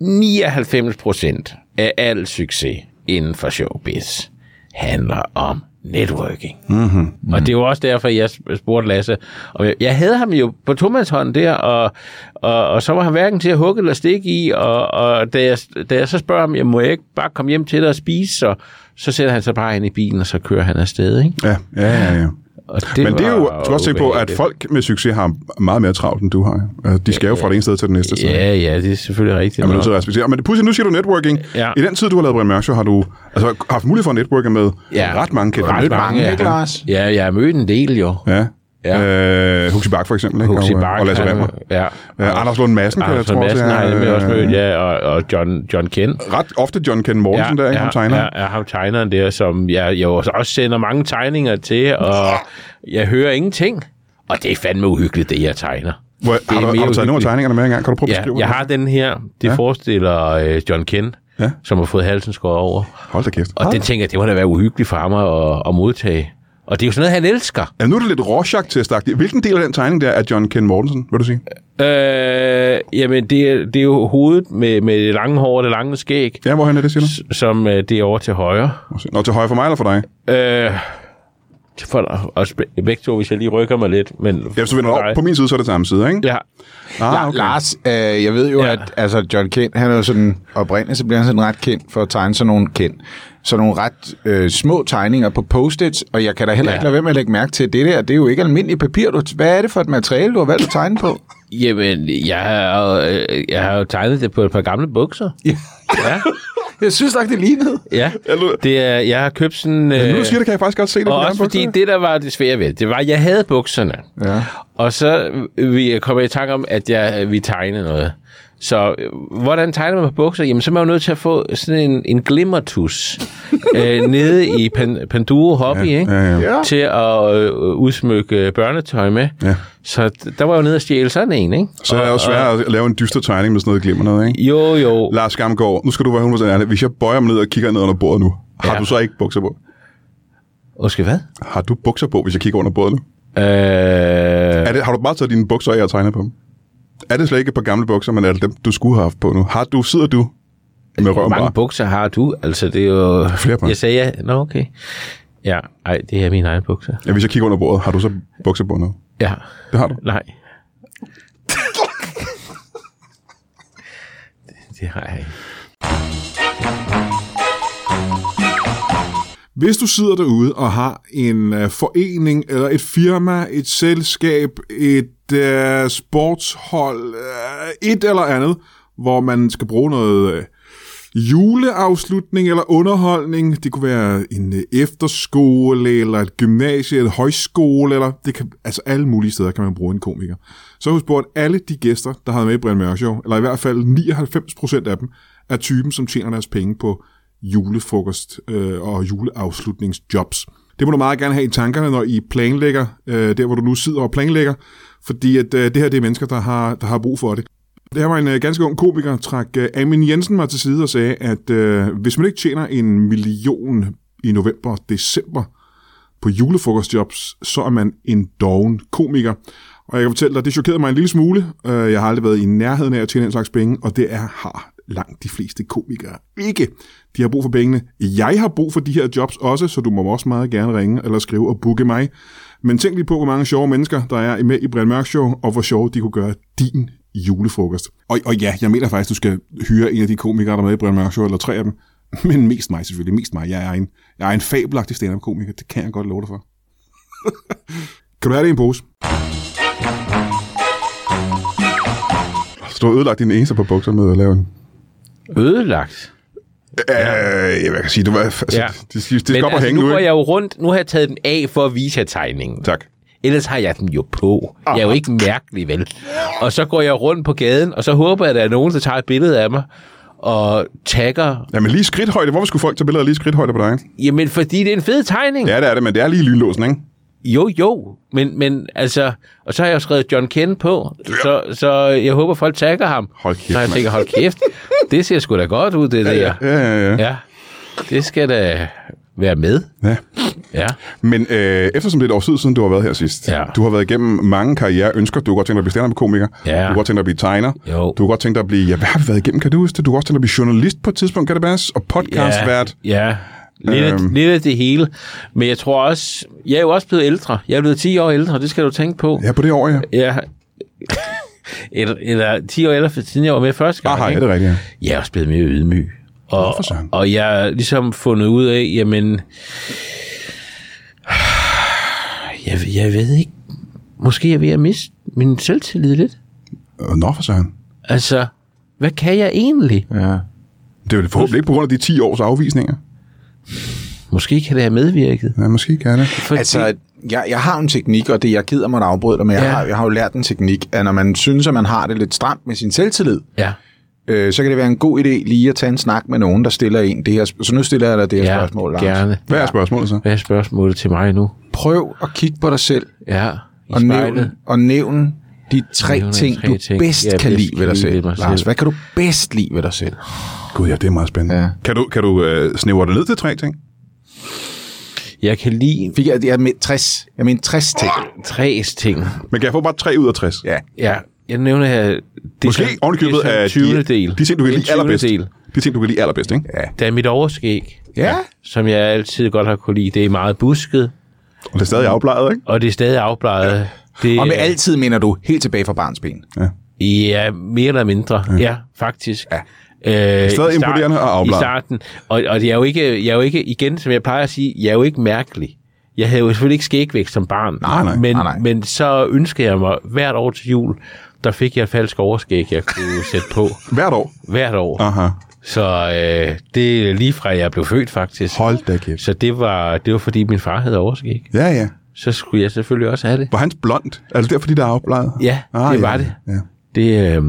[SPEAKER 3] 99 procent af al succes inden for showbiz handler om networking. Mm-hmm. Og det er jo også derfor, jeg spurgte Lasse. Og jeg, jeg havde ham jo på tomandshånd der, og, og, og så var han hverken til at hugge eller stikke i, og, og da, jeg, da jeg så spørger ham, jeg må jeg ikke bare komme hjem til dig og spise, så, så sætter han sig bare ind i bilen, og så kører han afsted. Ikke?
[SPEAKER 1] Ja, ja, ja. ja.
[SPEAKER 3] Og
[SPEAKER 1] Det men det er jo,
[SPEAKER 3] var
[SPEAKER 1] du skal også tænke på, at
[SPEAKER 3] ubehageligt.
[SPEAKER 1] folk med succes har meget mere travlt, end du har. Altså, de skal jo fra det ene sted til det næste sted.
[SPEAKER 3] Ja, ja, det er selvfølgelig rigtigt.
[SPEAKER 1] er man
[SPEAKER 3] nok.
[SPEAKER 1] nødt til at respektere. Men det pludselig, nu siger du networking.
[SPEAKER 3] Ja.
[SPEAKER 1] I den tid, du har lavet Brian Mørk Show, har du altså, haft mulighed for at networke med
[SPEAKER 3] Ja.
[SPEAKER 1] ret mange kendte.
[SPEAKER 3] Ret mange,
[SPEAKER 2] ikke, Lars?
[SPEAKER 3] Ja, jeg har mødt en del jo.
[SPEAKER 1] Ja. ja. Øh, Huxi Bak for eksempel, ikke?
[SPEAKER 3] Huxi
[SPEAKER 1] Og, øh,
[SPEAKER 3] Bak,
[SPEAKER 1] og Lasse
[SPEAKER 3] han-
[SPEAKER 1] Remmer.
[SPEAKER 3] ja.
[SPEAKER 1] Øh, Anders Lund Madsen, kan
[SPEAKER 3] Anders
[SPEAKER 1] jeg
[SPEAKER 3] Lund
[SPEAKER 1] tror
[SPEAKER 3] Madsen har jeg nemlig også mødt,
[SPEAKER 1] ja.
[SPEAKER 3] ja, og, og John, John Kent.
[SPEAKER 1] Ret ofte John Ken Mortensen der, ikke? Ham tegner.
[SPEAKER 3] Ja, ja, ham tegneren der, som jeg jo også sender mange tegninger til, og jeg hører ingenting. Og det er fandme uhyggeligt, det jeg tegner.
[SPEAKER 1] Hvor, har,
[SPEAKER 3] mere
[SPEAKER 1] du, har du taget nogle af
[SPEAKER 3] uhyggeligt.
[SPEAKER 1] tegningerne med engang? Kan du prøve at
[SPEAKER 3] Ja,
[SPEAKER 1] beskrive
[SPEAKER 3] jeg
[SPEAKER 1] det?
[SPEAKER 3] har den her. Det
[SPEAKER 1] Ja.
[SPEAKER 3] forestiller øh, John Kent,
[SPEAKER 1] Ja.
[SPEAKER 3] som har fået halsen skåret over.
[SPEAKER 1] Hold da kæft.
[SPEAKER 3] Og den tænker jeg, det må da være uhyggeligt for ham at, at modtage. Og det er jo sådan noget, han elsker.
[SPEAKER 1] Ja, nu er det lidt rorschach til Hvilken del af den tegning der er John Ken Mortensen, vil du sige?
[SPEAKER 3] Øh, jamen, det er, det er jo hovedet med, med det lange hår og det lange skæg,
[SPEAKER 1] Ja, hvorhen er det, siger du?
[SPEAKER 3] som øh, det er over til højre.
[SPEAKER 1] Nå, til højre for mig eller for dig?
[SPEAKER 3] Øh, for, og sp- væk to, hvis jeg lige rykker mig lidt. Men,
[SPEAKER 1] Ja, hvis du vender over på min side, så er det samme side, ikke?
[SPEAKER 3] Ja,
[SPEAKER 1] Ah,
[SPEAKER 2] La-
[SPEAKER 1] okay.
[SPEAKER 2] Lars, øh, jeg ved jo, ja.
[SPEAKER 3] Ja.
[SPEAKER 2] at altså, John Kent, han er jo sådan, oprindeligt så bliver han sådan ret kendt for at tegne sådan nogle kendt. Så nogle ret øh, små tegninger på post-its, og jeg kan da heller ja.
[SPEAKER 3] Ja.
[SPEAKER 2] ikke lade være med at lægge mærke til, at det der, det er jo ikke almindeligt papir. Du, hvad er det for et materiale, du har valgt at tegne på?
[SPEAKER 3] jamen, jeg har, øh, jeg har jo tegnet det på et par gamle bukser.
[SPEAKER 2] Ja.
[SPEAKER 3] Ja,
[SPEAKER 2] Jeg synes nok, det lignede.
[SPEAKER 3] ja.
[SPEAKER 1] Eller-
[SPEAKER 3] Det er, jeg har købt sådan... Øh,
[SPEAKER 1] Nu du siger det, kan jeg faktisk godt se det
[SPEAKER 3] og
[SPEAKER 1] på
[SPEAKER 3] også fordi det, der var det svære ved, det, det var, at jeg havde bukserne.
[SPEAKER 2] Ja.
[SPEAKER 3] Og så øh, vi kom jeg i tanke om, at jeg, øh, vi tegnede noget. Så øh, hvordan tegner man på bukser? Jamen, så er man jo nødt til at få sådan en, en glimmertus øh, nede i Pan, Panduro Hobby, ja, ikke?
[SPEAKER 1] ja,
[SPEAKER 2] ja.
[SPEAKER 3] til at øh, udsmykke børnetøj med.
[SPEAKER 1] Ja.
[SPEAKER 3] Så d- der var jo nede at stjæle sådan en, ikke?
[SPEAKER 1] Så er det også svært at lave en dyster tegning med sådan noget glimrende, ikke?
[SPEAKER 3] Jo, jo.
[SPEAKER 1] Lars Skamgaard, nu skal du være 100% ærlig. Hvis jeg bøjer mig ned og kigger ned under bordet nu, har
[SPEAKER 3] Ja.
[SPEAKER 1] du så ikke bukser på?
[SPEAKER 3] Undskyld, hvad?
[SPEAKER 1] Har du bukser på, hvis jeg kigger under bordet nu?
[SPEAKER 3] Øh,
[SPEAKER 1] Er det, har du bare taget dine bukser af og tegnet på dem? Er det slet ikke et par gamle bukser, men er det dem, du skulle have haft på nu? Har du, sidder du med
[SPEAKER 3] Altså, hvor
[SPEAKER 1] røven
[SPEAKER 3] mange
[SPEAKER 1] bare?
[SPEAKER 3] bukser har du? Altså, det er jo...
[SPEAKER 1] Flere par.
[SPEAKER 3] Jeg sagde ja. Nå, okay. Ja, ej, det er mine egne bukser.
[SPEAKER 1] Ja, hvis jeg kigger under bordet, har du så bukser på nu?
[SPEAKER 3] Ja,
[SPEAKER 1] Det har du.
[SPEAKER 3] nej. det, det har jeg ikke.
[SPEAKER 4] Hvis du sidder derude og har en øh, forening, eller et firma, et selskab, et øh, sportshold, øh, et eller andet, hvor man skal bruge noget øh, juleafslutning eller underholdning, det kunne være en øh, efterskole, eller et gymnasie, eller højskole, eller det kan, altså alle mulige steder kan man bruge en komiker. Så har vi spurgt alle de gæster, der havde med i Brian Mørk Show, eller i hvert fald 99% af dem, er typen, som tjener deres penge på julefrokost øh, og juleafslutningsjobs. Det må du meget gerne have i tankerne, når I planlægger, øh, der hvor du nu sidder og planlægger, fordi at, øh, det her det er mennesker, der har, der har brug for det. Det her var en øh, ganske ung komiker, trak øh, Amin Jensen mig til side og sagde, at øh, hvis man ikke tjener en million i november og december på julefrokostjobs, så er man en doven komiker. Og jeg kan fortælle dig, det chokerede mig en lille smule. Øh, jeg har aldrig været i nærheden af at tjene den slags penge, og det er har langt de fleste komikere ikke. De har brug for pengene. Jeg har brug for de her jobs også, så du må også meget gerne ringe eller skrive og booke mig. Men tænk lige på, hvor mange sjove mennesker, der er med i Brian Mørk Show, og hvor sjove de kunne gøre din julefrokost. Og, og ja, jeg mener faktisk, du skal hyre en af de komikere, der er med i Brian Mørk Show, eller tre af dem. Men mest mig selvfølgelig, mest mig. Jeg er en, jeg er en fabelagtig stand-up-komiker, det kan jeg godt love dig for. kan du have det i en pose?
[SPEAKER 1] Så du har ødelagt dine eneste på bukser med at lave den.
[SPEAKER 3] Ødelagt.
[SPEAKER 1] Øh, jeg kan sige, du var... Altså, ja.
[SPEAKER 3] Ja.
[SPEAKER 1] De, de, de skal
[SPEAKER 3] Men
[SPEAKER 1] op og
[SPEAKER 3] altså,
[SPEAKER 1] hænge
[SPEAKER 3] nu
[SPEAKER 1] nu,
[SPEAKER 3] går
[SPEAKER 1] ikke?
[SPEAKER 3] jeg jo rundt. Nu har jeg taget den af for at vise jer tegningen.
[SPEAKER 1] Tak.
[SPEAKER 3] Ellers har jeg den jo på. Jeg er jo ikke mærkelig, vel? Og så går jeg rundt på gaden, og så håber jeg, at der er nogen, der tager et billede af mig og tagger.
[SPEAKER 1] Jamen lige skridthøjde. Hvorfor skulle folk tage billeder af lige skridthøjde på dig?
[SPEAKER 3] Jamen, fordi det er en fed tegning.
[SPEAKER 1] Ja, det er det, men det er lige lynlåsen, ikke?
[SPEAKER 3] Jo, jo. Men, men altså... Og så har jeg jo skrevet John Ken på, så, så jeg håber, folk tagger ham.
[SPEAKER 1] Hold kæft,
[SPEAKER 3] så jeg
[SPEAKER 1] mand.
[SPEAKER 3] tænker, hold kæft. Det ser sgu da godt ud, det der.
[SPEAKER 1] Ja, ja, ja.
[SPEAKER 3] Ja. Det skal da være med.
[SPEAKER 1] ja.
[SPEAKER 3] Ja.
[SPEAKER 1] Men øh, eftersom det er et års tid siden, du har været her sidst.
[SPEAKER 3] Ja.
[SPEAKER 1] Du har været igennem mange karriereønsker. Du har godt tænkt dig at blive stand-up-komiker.
[SPEAKER 3] Ja.
[SPEAKER 1] Du har godt tænkt dig at blive tegner.
[SPEAKER 3] Jo.
[SPEAKER 1] Du har godt tænkt dig at blive... Ja, hvad har vi været igennem, kan du huske det? Du har også tænkt dig at blive journalist på et tidspunkt, kan det passe? Og podcastvært.
[SPEAKER 3] Ja, ja. Lidt,
[SPEAKER 1] Øhm.
[SPEAKER 3] øhm. lidt af det hele. Men jeg tror også, jeg er jo også blevet ældre. Jeg er blevet 10 år ældre, det skal du tænke på.
[SPEAKER 1] Ja, på det år, ja.
[SPEAKER 3] Ja. eller, eller 10 år ældre, siden jeg var med første gang.
[SPEAKER 1] Aha, ja,
[SPEAKER 3] ikke?
[SPEAKER 1] det er rigtigt, ja.
[SPEAKER 3] Jeg er også blevet mere ydmyg. Og,
[SPEAKER 1] for søren.
[SPEAKER 3] og jeg har ligesom fundet ud af, jamen, jeg, jeg ved ikke, måske er jeg ved at miste min selvtillid lidt.
[SPEAKER 1] Øh, Nå, for søren.
[SPEAKER 3] Altså, hvad kan jeg egentlig?
[SPEAKER 2] Ja.
[SPEAKER 1] Det er jo forhåbentlig ikke på grund af de 10 års afvisninger.
[SPEAKER 3] Måske kan det have medvirket.
[SPEAKER 1] Ja, måske kan det.
[SPEAKER 3] Fordi,
[SPEAKER 2] Altså, jeg, jeg har en teknik, og det jeg gider mig at afbryde dig, men ja.
[SPEAKER 3] Ja.
[SPEAKER 2] jeg, har, jeg har jo lært en teknik, at når man synes, at man har det lidt stramt med sin selvtillid,
[SPEAKER 3] ja.
[SPEAKER 2] øh, så kan det være en god idé lige at tage en snak med nogen, der stiller en det her sp- Så nu stiller jeg dig det her
[SPEAKER 3] Ja,
[SPEAKER 2] spørgsmål, Lars.
[SPEAKER 3] gerne.
[SPEAKER 1] Hvad er spørgsmålet så?
[SPEAKER 3] Hvad er spørgsmålet til mig nu?
[SPEAKER 2] Prøv at kigge på dig selv
[SPEAKER 3] Ja, i
[SPEAKER 2] og nævn, og nævn de tre
[SPEAKER 3] Nævne
[SPEAKER 2] ting,
[SPEAKER 3] tre
[SPEAKER 2] du
[SPEAKER 3] ting,
[SPEAKER 2] bedst
[SPEAKER 3] jeg
[SPEAKER 2] kan
[SPEAKER 3] bedst
[SPEAKER 2] lide ved dig
[SPEAKER 3] kan lide
[SPEAKER 2] selv.
[SPEAKER 3] ved mig
[SPEAKER 2] Lars,
[SPEAKER 3] selv.
[SPEAKER 2] hvad kan du bedst lide ved dig selv?
[SPEAKER 1] Gud, ja, det er meget spændende. Ja.
[SPEAKER 2] Ja.
[SPEAKER 1] Kan du, kan du øh, snævre det ned til tre ting?
[SPEAKER 3] Jeg kan lide
[SPEAKER 2] Fik jeg, jeg med 60. Jeg mener 60 ting.
[SPEAKER 3] tre ting.
[SPEAKER 1] Men kan jeg få bare 3 ud af 60?
[SPEAKER 2] Ja.
[SPEAKER 3] Ja, jeg nævner her... Det
[SPEAKER 1] Måske ovenikøbet af
[SPEAKER 3] de,
[SPEAKER 1] de, de ting, du kan lide allerbedst.
[SPEAKER 3] Del.
[SPEAKER 1] De ting, du kan lide allerbedst, ikke? Ja.
[SPEAKER 3] Der er mit overskæg,
[SPEAKER 2] Ja.
[SPEAKER 3] som jeg altid godt har kunne lide. Det er meget busket,
[SPEAKER 1] Og det er stadig afbleget, ikke?
[SPEAKER 3] og det er stadig afblejet. Det
[SPEAKER 2] Og med
[SPEAKER 3] er-
[SPEAKER 2] altid mener du helt tilbage fra barnsben.
[SPEAKER 3] Ja, mere eller mindre. Ja, ja faktisk. Ja. Øh,
[SPEAKER 1] Stadig
[SPEAKER 3] i
[SPEAKER 1] imponerende og afbladet.
[SPEAKER 3] I starten. Og, og jeg, er jo ikke, jeg er jo ikke, igen, som jeg plejer at sige, jeg er jo ikke mærkelig. Jeg havde jo selvfølgelig ikke skægvækst som barn.
[SPEAKER 1] Nej, nej,
[SPEAKER 3] men,
[SPEAKER 2] nej, nej.
[SPEAKER 3] men så ønskede jeg mig hvert år til jul, der fik jeg et falsk overskæg, jeg kunne sætte på
[SPEAKER 1] Hvert år.
[SPEAKER 3] hvert år.
[SPEAKER 1] Aha.
[SPEAKER 3] Så øh, det er lige fra, jeg blev født, faktisk.
[SPEAKER 1] Hold da kæft.
[SPEAKER 3] Så det var, det var, fordi min far havde overskæg.
[SPEAKER 1] Ja, ja.
[SPEAKER 3] Så skulle jeg selvfølgelig også have det.
[SPEAKER 1] Var hans blond? Er det derfor, de der er afbleget?
[SPEAKER 3] Ja, det var
[SPEAKER 1] ja.
[SPEAKER 3] det.
[SPEAKER 1] Ja.
[SPEAKER 3] Det, øh,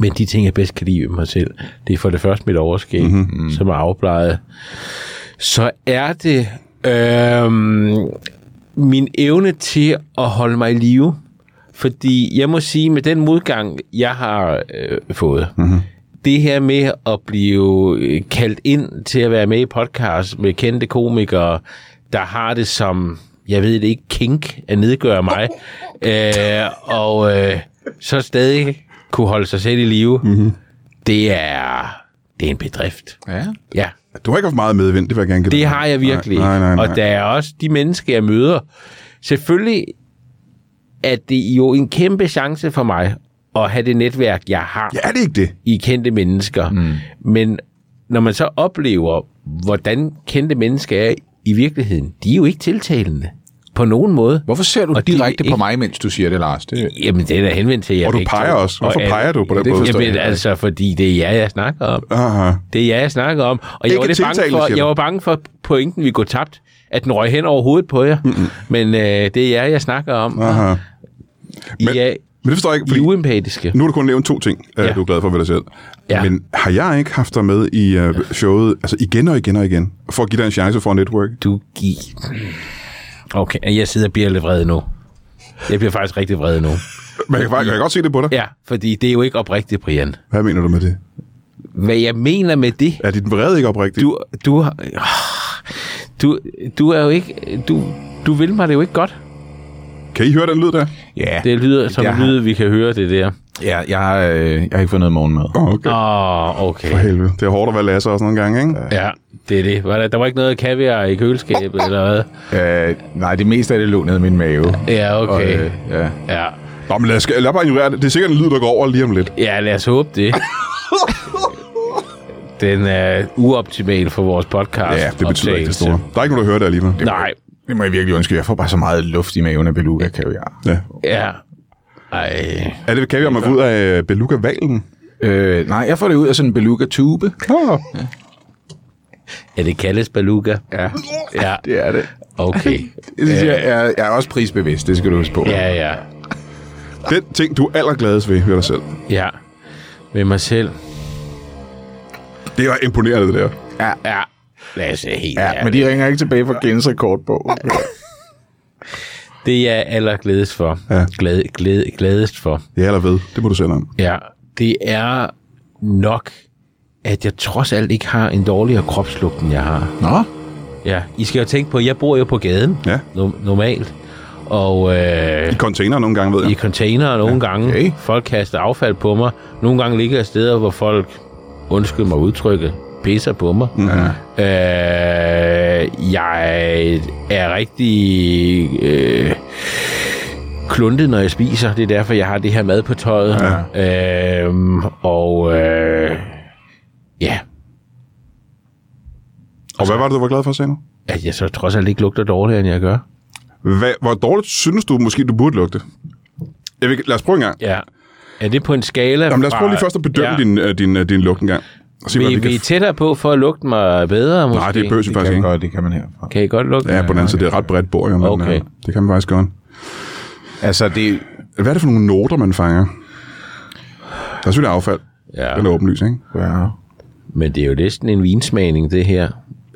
[SPEAKER 3] men de ting, jeg bedst kan lide ved mig selv, det er for det første mit overskæg, mm-hmm. som er afbleget. Så er det øh, min evne til at holde mig i live. Fordi jeg må sige, med den modgang, jeg har øh, fået, mm-hmm. det her med at blive øh, kaldt ind til at være med i podcast med kendte komikere, der har det som, jeg ved det ikke, kink at nedgøre mig, øh, og øh, så stadig kunne holde sig selv i live, mm-hmm.
[SPEAKER 1] Mhm.
[SPEAKER 3] det, er, det er en bedrift.
[SPEAKER 2] Ja.
[SPEAKER 3] Ja.
[SPEAKER 1] Du har ikke haft meget medvind, det vil jeg gerne give
[SPEAKER 3] Det
[SPEAKER 1] dig.
[SPEAKER 3] har jeg virkelig.
[SPEAKER 1] Nej, nej, nej.
[SPEAKER 3] Og der er også de mennesker, jeg møder. Selvfølgelig er det jo en kæmpe chance for mig at have det netværk, jeg har
[SPEAKER 1] Ja, er det ikke det?
[SPEAKER 3] i kendte mennesker. Mm. Men når man så oplever, hvordan kendte mennesker er i virkeligheden, de er jo ikke tiltalende på nogen måde.
[SPEAKER 2] Hvorfor ser du
[SPEAKER 3] Og det er
[SPEAKER 2] direkte på
[SPEAKER 3] ikke-
[SPEAKER 2] mig, mens du siger det, Lars? Det,
[SPEAKER 3] Jamen, det er da henvendt til jer
[SPEAKER 1] Og du
[SPEAKER 3] begge
[SPEAKER 1] peger
[SPEAKER 3] to.
[SPEAKER 1] også. Hvorfor
[SPEAKER 3] Og
[SPEAKER 1] peger du på den
[SPEAKER 2] det
[SPEAKER 1] måde?
[SPEAKER 2] forstår jeg
[SPEAKER 3] Jamen
[SPEAKER 2] ikke.
[SPEAKER 3] altså, fordi det er jer, jeg snakker om.
[SPEAKER 1] Aha.
[SPEAKER 3] Det er jer, jeg snakker om. Og
[SPEAKER 1] Ikke
[SPEAKER 3] jeg var, lidt bange
[SPEAKER 1] tiltalende, siger
[SPEAKER 3] for,
[SPEAKER 1] du?
[SPEAKER 3] jeg var bange for, at pointen ville gå tabt. At den røg hen over hovedet på jer. Mm-hmm. Men øh, det er jer, jeg snakker om.
[SPEAKER 1] Aha.
[SPEAKER 3] I,
[SPEAKER 1] Men-
[SPEAKER 3] er,
[SPEAKER 1] Men det forstår jeg ikke,
[SPEAKER 3] I
[SPEAKER 1] fordi
[SPEAKER 3] er uempatiske.
[SPEAKER 1] nu har du kun nævnt to ting, ja.
[SPEAKER 3] Ja.
[SPEAKER 1] du er glad for ved dig selv.
[SPEAKER 3] Ja.
[SPEAKER 1] Men har jeg ikke haft dig med i uh, showet, altså igen og igen og igen, for at give dig en chance for at netværke?
[SPEAKER 3] Du gi... Okay, jeg sidder og bliver lidt vred nu. Jeg bliver faktisk rigtig vred nu.
[SPEAKER 1] Man kan, faktisk- jeg kan godt se det på dig.
[SPEAKER 3] Ja, fordi det er jo ikke oprigtigt, Brian.
[SPEAKER 1] Hvad mener du med det?
[SPEAKER 3] Hvad jeg mener med det,
[SPEAKER 1] Er din vrede ikke oprigtig?
[SPEAKER 3] du, du, har- Ah, du, du er jo ikke, du, du vil mig det jo ikke godt.
[SPEAKER 1] Kan I høre den lyd der?
[SPEAKER 2] Ja,
[SPEAKER 3] Det lyder som
[SPEAKER 2] jeg
[SPEAKER 3] en
[SPEAKER 2] har-
[SPEAKER 3] lyd, vi kan høre det der.
[SPEAKER 2] ja jeg, har, øh, jeg har ikke fået noget morgenmad.
[SPEAKER 1] Åh, oh, okay.
[SPEAKER 3] Åh, oh,
[SPEAKER 1] For
[SPEAKER 3] okay.
[SPEAKER 1] helvede. Det er hårdt at være Lasse også nogle gange, ikke?
[SPEAKER 3] Ja, det er det. Var der, der var ikke noget kaviar i køleskabet, eller hvad?
[SPEAKER 2] Øh, nej, det meste af det lå ned i min mave.
[SPEAKER 3] Ja, okay.
[SPEAKER 2] Og, øh, ja.
[SPEAKER 3] Ja.
[SPEAKER 1] Nå, men lad, os, lad bare ignorere det. Det er sikkert en lyd, der går over lige om lidt.
[SPEAKER 3] ja, lad os håbe det. Den er uoptimal for vores podcast.
[SPEAKER 1] Ja, det betyder ikke det store. Der er ikke nogen, der hører det alligevel.
[SPEAKER 3] Nej,
[SPEAKER 2] Det må jeg virkelig undskylde. Jeg får bare så meget luft i maven af beluga kaviar.
[SPEAKER 1] Ja.
[SPEAKER 3] ja. Ej.
[SPEAKER 1] Er det, kan vi have ud af øh, beluga-valen?
[SPEAKER 2] Øh, nej, jeg får det ud af sådan en beluga tube.
[SPEAKER 1] Oh.
[SPEAKER 3] Ja, det kaldes beluga. Ja. Ja,
[SPEAKER 2] Det er det.
[SPEAKER 3] okay.
[SPEAKER 2] Det siger, jeg, jeg, jeg er også prisbevidst, det skal du huske på.
[SPEAKER 3] Ja, ja.
[SPEAKER 1] Den ting, du er allergladest ved, ved dig selv.
[SPEAKER 3] Ja. Med mig selv.
[SPEAKER 1] Det er imponerende, det der.
[SPEAKER 3] Ja. Lad os se helt
[SPEAKER 2] ja men de ringer ikke tilbage fra Gens rekordbog.
[SPEAKER 3] Det jeg er allerglædest for.
[SPEAKER 1] Ja.
[SPEAKER 3] Glad, glæd, glædest for.
[SPEAKER 1] Det er allerved. Det må du selv om.
[SPEAKER 3] Ja. Det er nok, at jeg trods alt ikke har en dårligere kropslugt, end jeg har.
[SPEAKER 2] Nå,
[SPEAKER 3] Ja. I skal jo tænke på, at jeg bor jo på gaden.
[SPEAKER 1] Ja.
[SPEAKER 3] No- normalt. Og øh,
[SPEAKER 1] I container nogle gange, ved jeg.
[SPEAKER 3] i containere nogle gange.
[SPEAKER 2] Okay.
[SPEAKER 3] Folk kaster affald på mig. Nogle gange ligger jeg steder, hvor folk, undskyld mig udtrykket, pisser på mig.
[SPEAKER 1] Mhm.
[SPEAKER 3] Mm. Øh, jeg er rigtig øh, kluntet, når jeg spiser. Det er derfor, jeg har det her mad på tøjet. Ja. Øh, og øh, ja,
[SPEAKER 1] Og hvad var det, du var glad for, sagde du?
[SPEAKER 3] at jeg så trods alt ikke lugter dårligere, end jeg gør.
[SPEAKER 1] Hvad, hvor dårligt synes du måske, du burde lugte? Jeg vil, lad os prøve en gang.
[SPEAKER 3] Ja. Er det på en skala
[SPEAKER 1] Jamen, lad os prøve lige
[SPEAKER 3] fra-
[SPEAKER 1] først at bedømme ja. din, øh, din, øh, din lugt en gang. Og se,
[SPEAKER 3] Vi,
[SPEAKER 1] hvordan det
[SPEAKER 3] vi er
[SPEAKER 1] kan...
[SPEAKER 3] tættere på for at lugte mig bedre, måske.
[SPEAKER 1] Nej, det bøs vi faktisk
[SPEAKER 2] det kan
[SPEAKER 1] ikke.
[SPEAKER 2] godt, det kan man herfra.
[SPEAKER 3] Kan I godt lugte
[SPEAKER 1] Ja, på den anden side, det er et ret bredt bord, jo, men
[SPEAKER 3] Okay.
[SPEAKER 1] okay. det kan man faktisk godt.
[SPEAKER 2] Altså, det,
[SPEAKER 1] Hvad er det for nogle noter, man fanger? Der er selvfølgelig affald.
[SPEAKER 3] Ja.
[SPEAKER 1] Ja. Den er åbenlys, ikke?
[SPEAKER 2] ja.
[SPEAKER 3] Men det er jo næsten en vinsmagning, det her.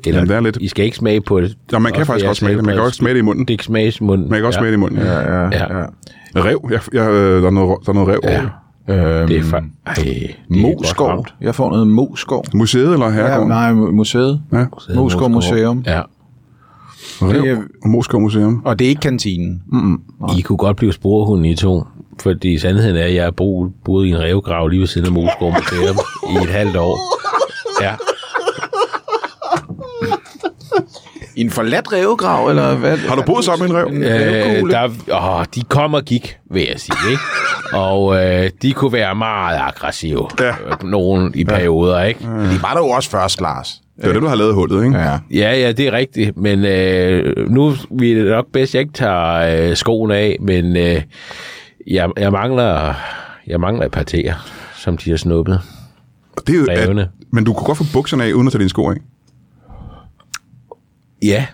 [SPEAKER 3] Eller,
[SPEAKER 1] Jamen, det er lidt.
[SPEAKER 3] I skal ikke smage på det.
[SPEAKER 1] Ja, man kan
[SPEAKER 3] Også
[SPEAKER 1] faktisk
[SPEAKER 3] jeres
[SPEAKER 1] godt smage det. Man kan
[SPEAKER 3] helbred.
[SPEAKER 1] også smage det i munden.
[SPEAKER 3] Det kan smages i munden.
[SPEAKER 1] Man kan også
[SPEAKER 3] ja.
[SPEAKER 1] smage det i munden. Ja.
[SPEAKER 2] ja,
[SPEAKER 3] Ja.
[SPEAKER 2] ja.
[SPEAKER 1] Rev. Jeg, jeg, øh, der, er noget, der er noget rev ja. over. det.
[SPEAKER 2] Øhm,
[SPEAKER 3] Det er for... Ej, det er godt
[SPEAKER 2] Moskov.
[SPEAKER 3] ramt.
[SPEAKER 2] Jeg får noget Moskov.
[SPEAKER 1] Museet eller
[SPEAKER 2] Ja,
[SPEAKER 1] herregården? Ja,
[SPEAKER 2] nej, museet.
[SPEAKER 1] Ja.
[SPEAKER 2] Moskov Museum.
[SPEAKER 3] Ja.
[SPEAKER 1] Rev
[SPEAKER 2] Det
[SPEAKER 1] og Moskov Museum.
[SPEAKER 2] Og det er ikke kantinen.
[SPEAKER 3] I kunne godt blive sporhunden i to. Fordi sandheden er, at jeg har boet, boet i en revgrav lige ved siden af Moskov Museum i et halvt år. Ja.
[SPEAKER 2] I en forladt rævegrav, eller hvad?
[SPEAKER 1] Har du boet sammen med en rev?
[SPEAKER 2] En rævekugle?
[SPEAKER 3] Øh, der, åh, de kom og gik, vil jeg sige. Ikke? og øh, de kunne være meget aggressive.
[SPEAKER 1] Ja.
[SPEAKER 3] Øh, Nogen i perioder, ikke?
[SPEAKER 2] De var der jo også først, Lars.
[SPEAKER 1] Det er det, du har lavet hullet, ikke?
[SPEAKER 2] Ja.
[SPEAKER 3] Ja, ja, det er rigtigt, men øh, nu vil det nok bedst, at jeg ikke tager øh, skoen af, men øh, jeg, jeg, mangler, jeg mangler et par tæer, som de har snuppet.
[SPEAKER 1] Og Det er, jo-
[SPEAKER 3] Revene.
[SPEAKER 1] at, men du kunne godt få bukserne af, uden at tage dine sko af.
[SPEAKER 3] Ja.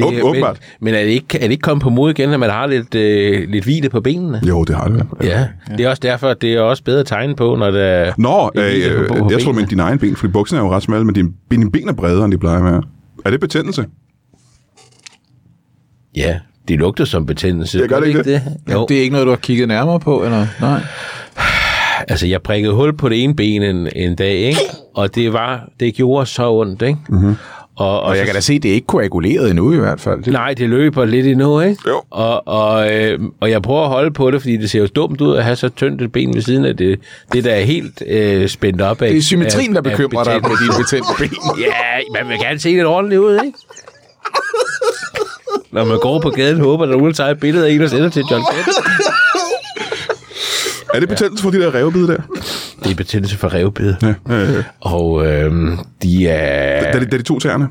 [SPEAKER 1] Åb- åbenbart.
[SPEAKER 3] Men, men er, det ikke, er det ikke kommet på mod igen, at man har lidt, øh, lidt hvile på benene?
[SPEAKER 1] Jo, det har du.
[SPEAKER 3] Ja. ja, det er også derfor, at det er også bedre at tegne på, når der...
[SPEAKER 1] Nå,
[SPEAKER 3] Det er
[SPEAKER 1] øh,
[SPEAKER 3] lige,
[SPEAKER 1] øh,
[SPEAKER 3] på- på
[SPEAKER 1] jeg tror,
[SPEAKER 3] benene.
[SPEAKER 1] men dine egne ben, fordi bukserne er jo ret smalle, men dine, dine ben er bredere, end de plejer at være. Er det betændelse?
[SPEAKER 3] Ja, det lugter som betændelse.
[SPEAKER 1] Jeg gør det ikke
[SPEAKER 3] det? Jo,
[SPEAKER 2] Det er ikke noget, du har kigget nærmere på, eller? Nej.
[SPEAKER 3] altså jeg prikkede hul på det ene ben en, en dag, ikke? Og det var, det gjorde så ondt, ikke? Mm-hmm. Og,
[SPEAKER 2] Og jeg kan da se, det er ikke koaguleret endnu i hvert fald. Det,
[SPEAKER 3] Nej, det løber lidt endnu, ikke?
[SPEAKER 1] Jo.
[SPEAKER 3] Og, og, øh, og jeg prøver at holde på det, fordi det ser jo dumt ud at have så tyndt et ben ved siden af det, det der er helt øh, spændt op af.
[SPEAKER 2] det er symmetrien, der
[SPEAKER 3] af-
[SPEAKER 2] bekymrer
[SPEAKER 3] af
[SPEAKER 2] dig
[SPEAKER 3] betændelse.
[SPEAKER 2] med dine betændte ben.
[SPEAKER 3] Ja, man vil gerne se lidt ordentligt ud, ikke? Når man går på gaden, håber, at der er nogen, der tager et billede af en og sender til John Kent.
[SPEAKER 1] Er det betændelse for de der revbide der?
[SPEAKER 3] Det er betændelse for revbid.
[SPEAKER 1] Ja. Øh,
[SPEAKER 3] Og øh, de er...
[SPEAKER 1] da, de, da de to tæerne.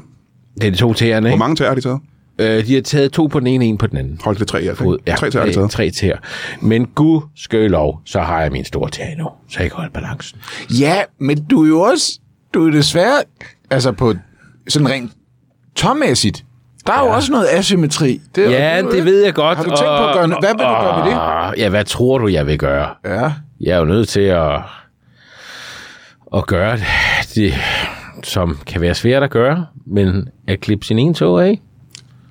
[SPEAKER 3] Det er de to tæerne,
[SPEAKER 1] Hvor
[SPEAKER 3] ikke?
[SPEAKER 1] mange tæer har de taget?
[SPEAKER 3] Øh, de har taget to på den ene, en på den anden.
[SPEAKER 1] Hold det er tre i hvert fald.
[SPEAKER 3] fod.
[SPEAKER 1] Tre tæer har de
[SPEAKER 3] øh,
[SPEAKER 1] taget.
[SPEAKER 3] tre tæer. Men gud skøj lov, så har jeg min store tæer nu, så jeg kan holde balancen.
[SPEAKER 2] Ja, men du er jo også, du er desværre, altså på sådan rent tommæssigt, der er ja. jo også noget asymmetri. Det er
[SPEAKER 3] Ja,
[SPEAKER 2] jo-
[SPEAKER 3] det ved jeg godt.
[SPEAKER 2] Har du tænkt på at gøre noget? Hvad vil du gøre med det?
[SPEAKER 3] det? Ah, Ja, hvad tror du, jeg vil gøre?
[SPEAKER 2] Ja.
[SPEAKER 3] Jeg er jo nødt til at, at gøre det, som kan være svært at gøre, men at klippe sin ene tog af.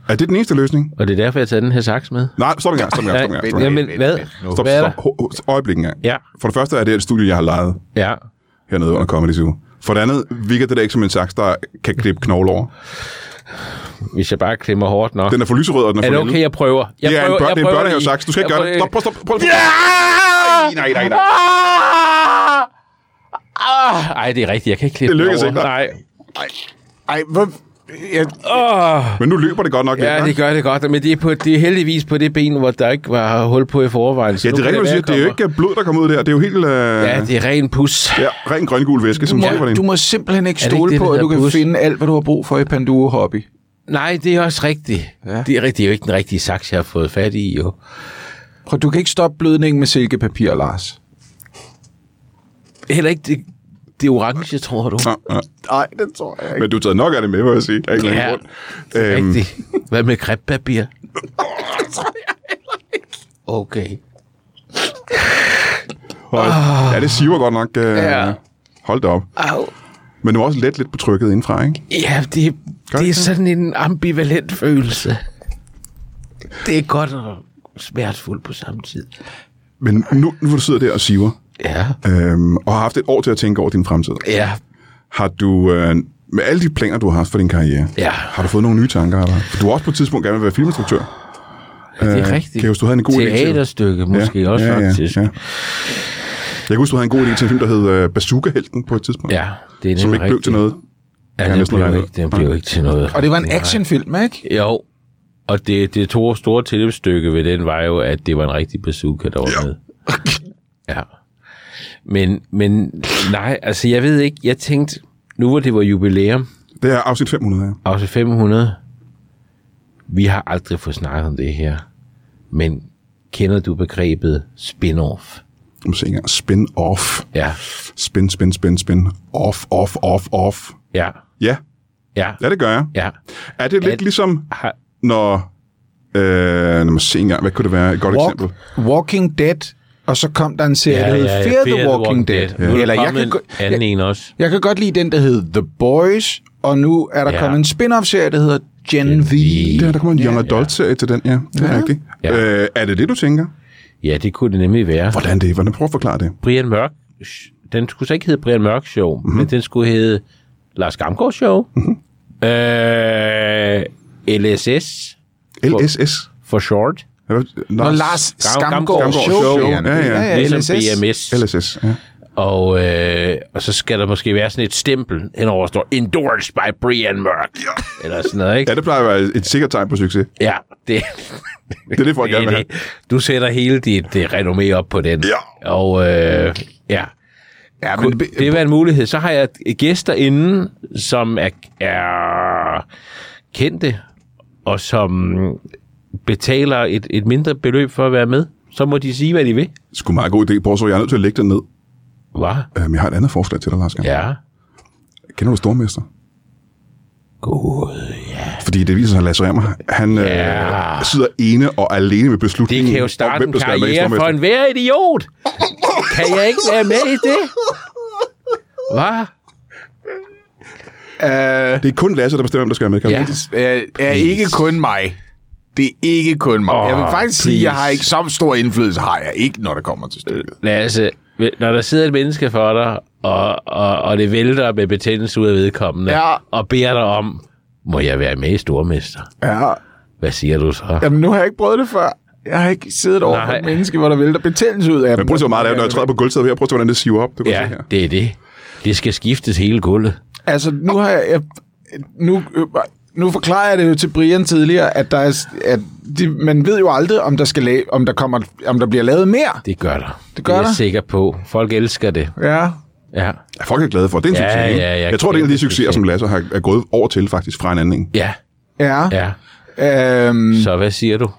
[SPEAKER 1] Er det den eneste løsning?
[SPEAKER 3] Og det er derfor, jeg har taget den her saks med.
[SPEAKER 1] Nej, stop en gang, stop en gang, stop en gang. Stop, en gang.
[SPEAKER 3] Jamen, hvad?
[SPEAKER 2] nu.
[SPEAKER 1] stop,
[SPEAKER 3] Hvad er
[SPEAKER 1] stop,
[SPEAKER 3] der?
[SPEAKER 1] Ho- ho- Øjeblik en gang.
[SPEAKER 3] Ja,
[SPEAKER 1] For det første er det et studie, jeg har lejet
[SPEAKER 3] ja.
[SPEAKER 1] hernede under Comedy Zoo. For det andet virker det da ikke som en saks, der kan klippe knogle over.
[SPEAKER 3] Hvis jeg bare klemmer hårdt nok.
[SPEAKER 1] Den er for lyserød, og den er
[SPEAKER 3] Er
[SPEAKER 1] for
[SPEAKER 3] det
[SPEAKER 1] lille.
[SPEAKER 3] okay, jeg prøver? Jeg
[SPEAKER 1] det er
[SPEAKER 3] prøver,
[SPEAKER 1] en, børn, det er en
[SPEAKER 3] prøver
[SPEAKER 1] børnehavesaks.
[SPEAKER 3] lige.
[SPEAKER 1] Du skal ikke
[SPEAKER 3] Jeg
[SPEAKER 1] gøre det. Stop,
[SPEAKER 3] prøver
[SPEAKER 1] prøv, stop, prøv.
[SPEAKER 3] lige.
[SPEAKER 1] Ja!
[SPEAKER 3] Ah!
[SPEAKER 1] Nej, nej, nej.
[SPEAKER 3] Ah! Ej, det er rigtigt. Jeg kan ikke klippe
[SPEAKER 1] Det lykkedes
[SPEAKER 3] den
[SPEAKER 1] ikke,
[SPEAKER 3] over.
[SPEAKER 1] nej.
[SPEAKER 3] Nej.
[SPEAKER 2] Ej, hvor... Jeg,
[SPEAKER 3] Oh,
[SPEAKER 1] Men nu løber det godt nok.
[SPEAKER 3] ja, det gør det godt. Men det er, på, det er heldigvis på det ben, hvor der ikke var hul på i forvejen. Så
[SPEAKER 1] Ja, det
[SPEAKER 3] nu
[SPEAKER 1] er rigtigt,
[SPEAKER 3] kan
[SPEAKER 1] du
[SPEAKER 3] være,
[SPEAKER 1] siger. Det er jo
[SPEAKER 3] jeg
[SPEAKER 1] ikke blod, der kommer ud der. Det er jo helt... Øh...
[SPEAKER 3] kommer- Ja, det er ren pus.
[SPEAKER 1] Ja, ren grøn-gul væske, som
[SPEAKER 2] du,
[SPEAKER 1] ja, var
[SPEAKER 2] må,
[SPEAKER 1] det.
[SPEAKER 2] du må simpelthen ikke
[SPEAKER 3] Er det ikke
[SPEAKER 2] stole
[SPEAKER 3] det,
[SPEAKER 2] på,
[SPEAKER 3] der
[SPEAKER 2] at du
[SPEAKER 3] hedder
[SPEAKER 2] kan
[SPEAKER 3] bus?
[SPEAKER 2] finde alt, hvad du har brug for i Panduro Hobby.
[SPEAKER 3] Nej, det er også rigtigt.
[SPEAKER 2] Ja.
[SPEAKER 3] Det, er, rigtigt. det er jo ikke den rigtige saks, jeg har fået fat i, jo.
[SPEAKER 2] Prøv, du kan ikke stoppe blødningen med silkepapir, Lars.
[SPEAKER 3] Heller ikke det, det orange, tror du.
[SPEAKER 1] Nej, nej.
[SPEAKER 2] Nej, det tror jeg
[SPEAKER 1] Men du har taget nok af det med, må jeg sige. Der er ikke
[SPEAKER 3] Ja,
[SPEAKER 1] ja,
[SPEAKER 3] det er
[SPEAKER 1] øhm,
[SPEAKER 3] rigtigt. Hvad med krebpapir? Okay.
[SPEAKER 1] hold. Ja, det siver godt nok. Øh,
[SPEAKER 3] Ah. Ja.
[SPEAKER 1] ja. Hold da op.
[SPEAKER 3] Au.
[SPEAKER 1] Men du må også let lidt på trykket indfra, ikke?
[SPEAKER 3] Ja, det, det er
[SPEAKER 1] det?
[SPEAKER 3] sådan en ambivalent følelse. Det er godt og smertefuldt på samme tid.
[SPEAKER 1] Men nu, nu hvor du sidder der og siver,
[SPEAKER 3] Ja.
[SPEAKER 1] øhm, og har haft et år til at tænke over din fremtid,
[SPEAKER 3] Ja.
[SPEAKER 1] har du... Øh, med alle de planer, du har haft for din karriere,
[SPEAKER 3] Ja.
[SPEAKER 1] har du fået nogle nye tanker? Eller? For du har også på et tidspunkt gerne vil være filminstruktør.
[SPEAKER 3] Det er
[SPEAKER 1] Øh,
[SPEAKER 3] rigtigt.
[SPEAKER 1] kan jeg huske, du havde en god idé til det?
[SPEAKER 3] Teaterstykke måske ja. også ja, faktisk. Ja, ja.
[SPEAKER 1] Jeg kan huske, du havde en god idé til en film, der hed øh, Bazooka-helten på et tidspunkt.
[SPEAKER 3] ja det er
[SPEAKER 1] som
[SPEAKER 3] nemlig
[SPEAKER 1] ikke blev
[SPEAKER 3] rigtigt.
[SPEAKER 1] til noget.
[SPEAKER 3] Ja,
[SPEAKER 1] kan jeg
[SPEAKER 3] den
[SPEAKER 1] næsten
[SPEAKER 3] blev,
[SPEAKER 1] regne
[SPEAKER 3] ikke,
[SPEAKER 1] ud.
[SPEAKER 3] den blev ikke til noget.
[SPEAKER 2] Og det var en actionfilm, ikke?
[SPEAKER 3] Jo, og det, det to store tilløbsstykke ved den var jo, at det var en rigtig bazooka, der var ja. med. Ja. Men, men nej, altså jeg ved ikke, jeg tænkte, nu hvor det var jubilæum,
[SPEAKER 1] Det er afsnit 500, ja.
[SPEAKER 3] afsnit 500, vi har aldrig fået snakket om det her, men kender du begrebet spin-off?
[SPEAKER 1] Du må se engang. Spin-off.
[SPEAKER 3] Ja,
[SPEAKER 1] Spin, spin, spin, spin. Off, off, off, off.
[SPEAKER 3] ja,
[SPEAKER 1] Ja,
[SPEAKER 3] ja,
[SPEAKER 1] ja det gør jeg.
[SPEAKER 3] ja.
[SPEAKER 1] Er det lidt
[SPEAKER 3] At-
[SPEAKER 1] ligesom,
[SPEAKER 3] Har,
[SPEAKER 1] når... Øh, lad mig se engang. Hvad kunne det være? Et godt
[SPEAKER 2] Walk,
[SPEAKER 1] eksempel.
[SPEAKER 2] Walking Dead, og så kom der en serie, ja, der hed ja, ja, Fear the Walking, Dead.
[SPEAKER 3] Ja. Nu er
[SPEAKER 2] Eller
[SPEAKER 3] der
[SPEAKER 2] jeg kan,
[SPEAKER 3] kommet
[SPEAKER 2] go-
[SPEAKER 3] en
[SPEAKER 2] jeg,
[SPEAKER 3] anden en også.
[SPEAKER 2] jeg kan godt lide den, der hed The Boys, og nu er der
[SPEAKER 3] Ja.
[SPEAKER 2] ja. kommet en spin-off-serie, der hedder Gen, Gen V.
[SPEAKER 1] Ja, der kommer en Young Adult-serie til den, ja. Det er rigtigt.
[SPEAKER 3] Ja.
[SPEAKER 1] Øh, er det det, du tænker?
[SPEAKER 3] Ja, det kunne det nemlig være.
[SPEAKER 1] Hvordan det? Hvordan prøv at forklare det?
[SPEAKER 3] Brian Mørk, den skulle så ikke hedde Brian Mørk Show,
[SPEAKER 1] Mhm.
[SPEAKER 3] mm-hmm. men den skulle hedde Lars Gamgaard Show. Mm-hmm. Øh, LSS
[SPEAKER 1] LSS.
[SPEAKER 3] for short.
[SPEAKER 1] Hvad-
[SPEAKER 2] Og Lars
[SPEAKER 3] Gam-
[SPEAKER 2] Skamgaard
[SPEAKER 1] Gamgaard
[SPEAKER 2] Show.
[SPEAKER 1] Show.
[SPEAKER 2] Ja,
[SPEAKER 1] Ja, ja.
[SPEAKER 2] ja.
[SPEAKER 3] Ligesom
[SPEAKER 2] LSS.
[SPEAKER 3] BMS.
[SPEAKER 1] LSS, ja.
[SPEAKER 3] Og, øh, og så skal der måske være sådan et stempel henover, hvor der står Endorsed by Brian Mørk. Ja. Eller sådan noget,
[SPEAKER 1] Ja,
[SPEAKER 3] ikke?
[SPEAKER 1] det plejer at være et sikkert tegn på succes.
[SPEAKER 3] Ja, det,
[SPEAKER 1] Det er det, folk gerne vil have.
[SPEAKER 3] Du sætter hele dit øh, renommé op på den.
[SPEAKER 1] Ja.
[SPEAKER 3] Og øh, ja,
[SPEAKER 2] Ja,
[SPEAKER 3] Kunne
[SPEAKER 2] men,
[SPEAKER 3] det være en mulighed? Så har jeg gæster inde, som er, er kendte, og som betaler et, et mindre beløb for at være med. Så må de sige, hvad de vil.
[SPEAKER 1] Sgu meget god idé, Borso. Jeg er nødt til at lægge den ned.
[SPEAKER 3] Hvad?
[SPEAKER 1] Øhm, jeg har et andet forslag til dig, Lars. Ja.
[SPEAKER 3] Ja.
[SPEAKER 1] Kender du Stormester?
[SPEAKER 3] God.
[SPEAKER 1] Fordi det viser sig, at Lasse Remmer, han
[SPEAKER 3] Ja.
[SPEAKER 1] ja. øh, sidder ene og alene med
[SPEAKER 3] Det
[SPEAKER 1] beslutningen
[SPEAKER 3] kan jo
[SPEAKER 1] om,
[SPEAKER 3] starte
[SPEAKER 1] hvem
[SPEAKER 3] en
[SPEAKER 1] der skal være med i
[SPEAKER 3] karriere for
[SPEAKER 1] Stormester.
[SPEAKER 3] en hver idiot. Kan jeg ikke være med i det? Hvad?
[SPEAKER 2] øh,
[SPEAKER 1] Det er kun Lasse, der bestemmer, hvem der skal være med. Kan
[SPEAKER 3] Ja.
[SPEAKER 1] ja.
[SPEAKER 2] er, er ikke kun mig. Det er ikke kun mig. Oh, jeg vil
[SPEAKER 3] Åh,
[SPEAKER 2] faktisk sige, at jeg
[SPEAKER 3] please.
[SPEAKER 2] har ikke så stor indflydelse, har jeg ikke, når det kommer til stykket.
[SPEAKER 3] Lasse, øh, når der sidder et menneske for dig, og, og, og det vælter med betændelse ud af vedkommende,
[SPEAKER 2] Ja.
[SPEAKER 3] og beder dig om, må jeg være med i Stormester?
[SPEAKER 2] Ja.
[SPEAKER 3] Hvad siger du så?
[SPEAKER 2] Jamen, nu har jeg ikke prøvet det før. Jeg har ikke siddet over for
[SPEAKER 3] Nej.
[SPEAKER 2] et menneske, hvor der vælter betændelse ud af
[SPEAKER 1] Men prøv at se, hvor meget det er, når jeg træder på gulvtæppet her. Prøv at se, hvordan det siver op. Det kan
[SPEAKER 3] Ja,
[SPEAKER 1] du se her.
[SPEAKER 3] det er det. Det skal skiftes hele gulvet.
[SPEAKER 2] Altså, nu har jeg... jeg nu, øh, nu forklarer jeg det jo til Brian tidligere, at, der er, at de, man ved jo aldrig, om der, skal la- om der, kommer, om der bliver lavet mere.
[SPEAKER 3] Det gør der.
[SPEAKER 2] Det gør
[SPEAKER 3] det er
[SPEAKER 2] der.
[SPEAKER 3] jeg sikker på. Folk elsker det.
[SPEAKER 2] Ja.
[SPEAKER 3] Ja.
[SPEAKER 1] Ja, folk er glade for. Det er en
[SPEAKER 3] Ja,
[SPEAKER 1] succes. ikke?
[SPEAKER 3] ja, ja,
[SPEAKER 1] jeg tror, det er en af
[SPEAKER 3] kæmpe
[SPEAKER 1] de succeser,
[SPEAKER 3] succes.
[SPEAKER 1] som Lasse har er gået over til faktisk fra en anden. ikke?
[SPEAKER 3] Ja,
[SPEAKER 2] Ja.
[SPEAKER 3] ja.
[SPEAKER 2] Øhm,
[SPEAKER 3] Så hvad siger du?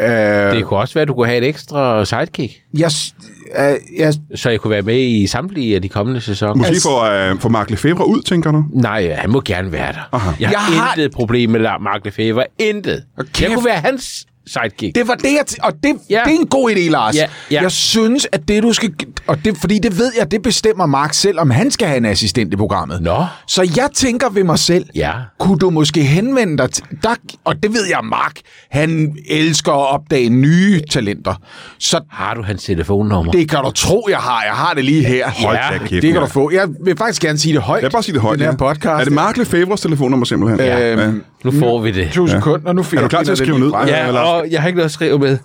[SPEAKER 2] øh,
[SPEAKER 3] Det kunne også være, at du kunne have et ekstra sidekick,
[SPEAKER 2] jeg, s- øh, jeg,
[SPEAKER 3] så jeg kunne være med i samtlige af de kommende sæsoner.
[SPEAKER 1] Måske
[SPEAKER 2] Altså-
[SPEAKER 1] for, øh, for Mark Lefebvre ud, tænker du?
[SPEAKER 3] Nej, han må gerne være der.
[SPEAKER 1] Aha.
[SPEAKER 3] Jeg,
[SPEAKER 2] Jeg
[SPEAKER 3] har
[SPEAKER 2] har-
[SPEAKER 3] intet problem med Mark Lefebvre. Intet.
[SPEAKER 2] Og
[SPEAKER 3] Jeg
[SPEAKER 2] kæft.
[SPEAKER 3] kunne være hans sidekick.
[SPEAKER 2] Det var det, jeg t- og det,
[SPEAKER 3] Ja.
[SPEAKER 2] ja. det er en god idé, Lars.
[SPEAKER 3] Ja, ja.
[SPEAKER 2] Jeg synes, at det du skal... Og det, fordi det ved jeg, det bestemmer Mark selv, om han skal have en assistent i programmet.
[SPEAKER 3] Nå.
[SPEAKER 2] Så jeg tænker ved mig selv,
[SPEAKER 3] Ja.
[SPEAKER 2] kunne du måske henvende dig til... Der, og det ved jeg, Mark, han elsker at opdage nye talenter. Så
[SPEAKER 3] Har du hans telefonnummer?
[SPEAKER 2] det kan du tro, jeg har. Jeg har det lige her.
[SPEAKER 1] Hold da kæft,
[SPEAKER 2] det kan du
[SPEAKER 1] mand.
[SPEAKER 2] få. Jeg vil faktisk gerne sige det højt.
[SPEAKER 1] Lad bare sige det højt.
[SPEAKER 2] i Den her
[SPEAKER 1] ja.
[SPEAKER 2] podcast.
[SPEAKER 1] Er det Mark Lefebvres telefonnummer simpelthen?
[SPEAKER 2] Øhm,
[SPEAKER 1] Ja.
[SPEAKER 3] Nu får vi det.
[SPEAKER 2] To sekunder, nu fik
[SPEAKER 1] Er du
[SPEAKER 2] jeg
[SPEAKER 1] klar til at
[SPEAKER 2] finder
[SPEAKER 1] skrive
[SPEAKER 2] det
[SPEAKER 1] den ud?
[SPEAKER 2] lige frem.
[SPEAKER 1] Ja, Lars.
[SPEAKER 3] Ja, og jeg har ikke noget at skrive med.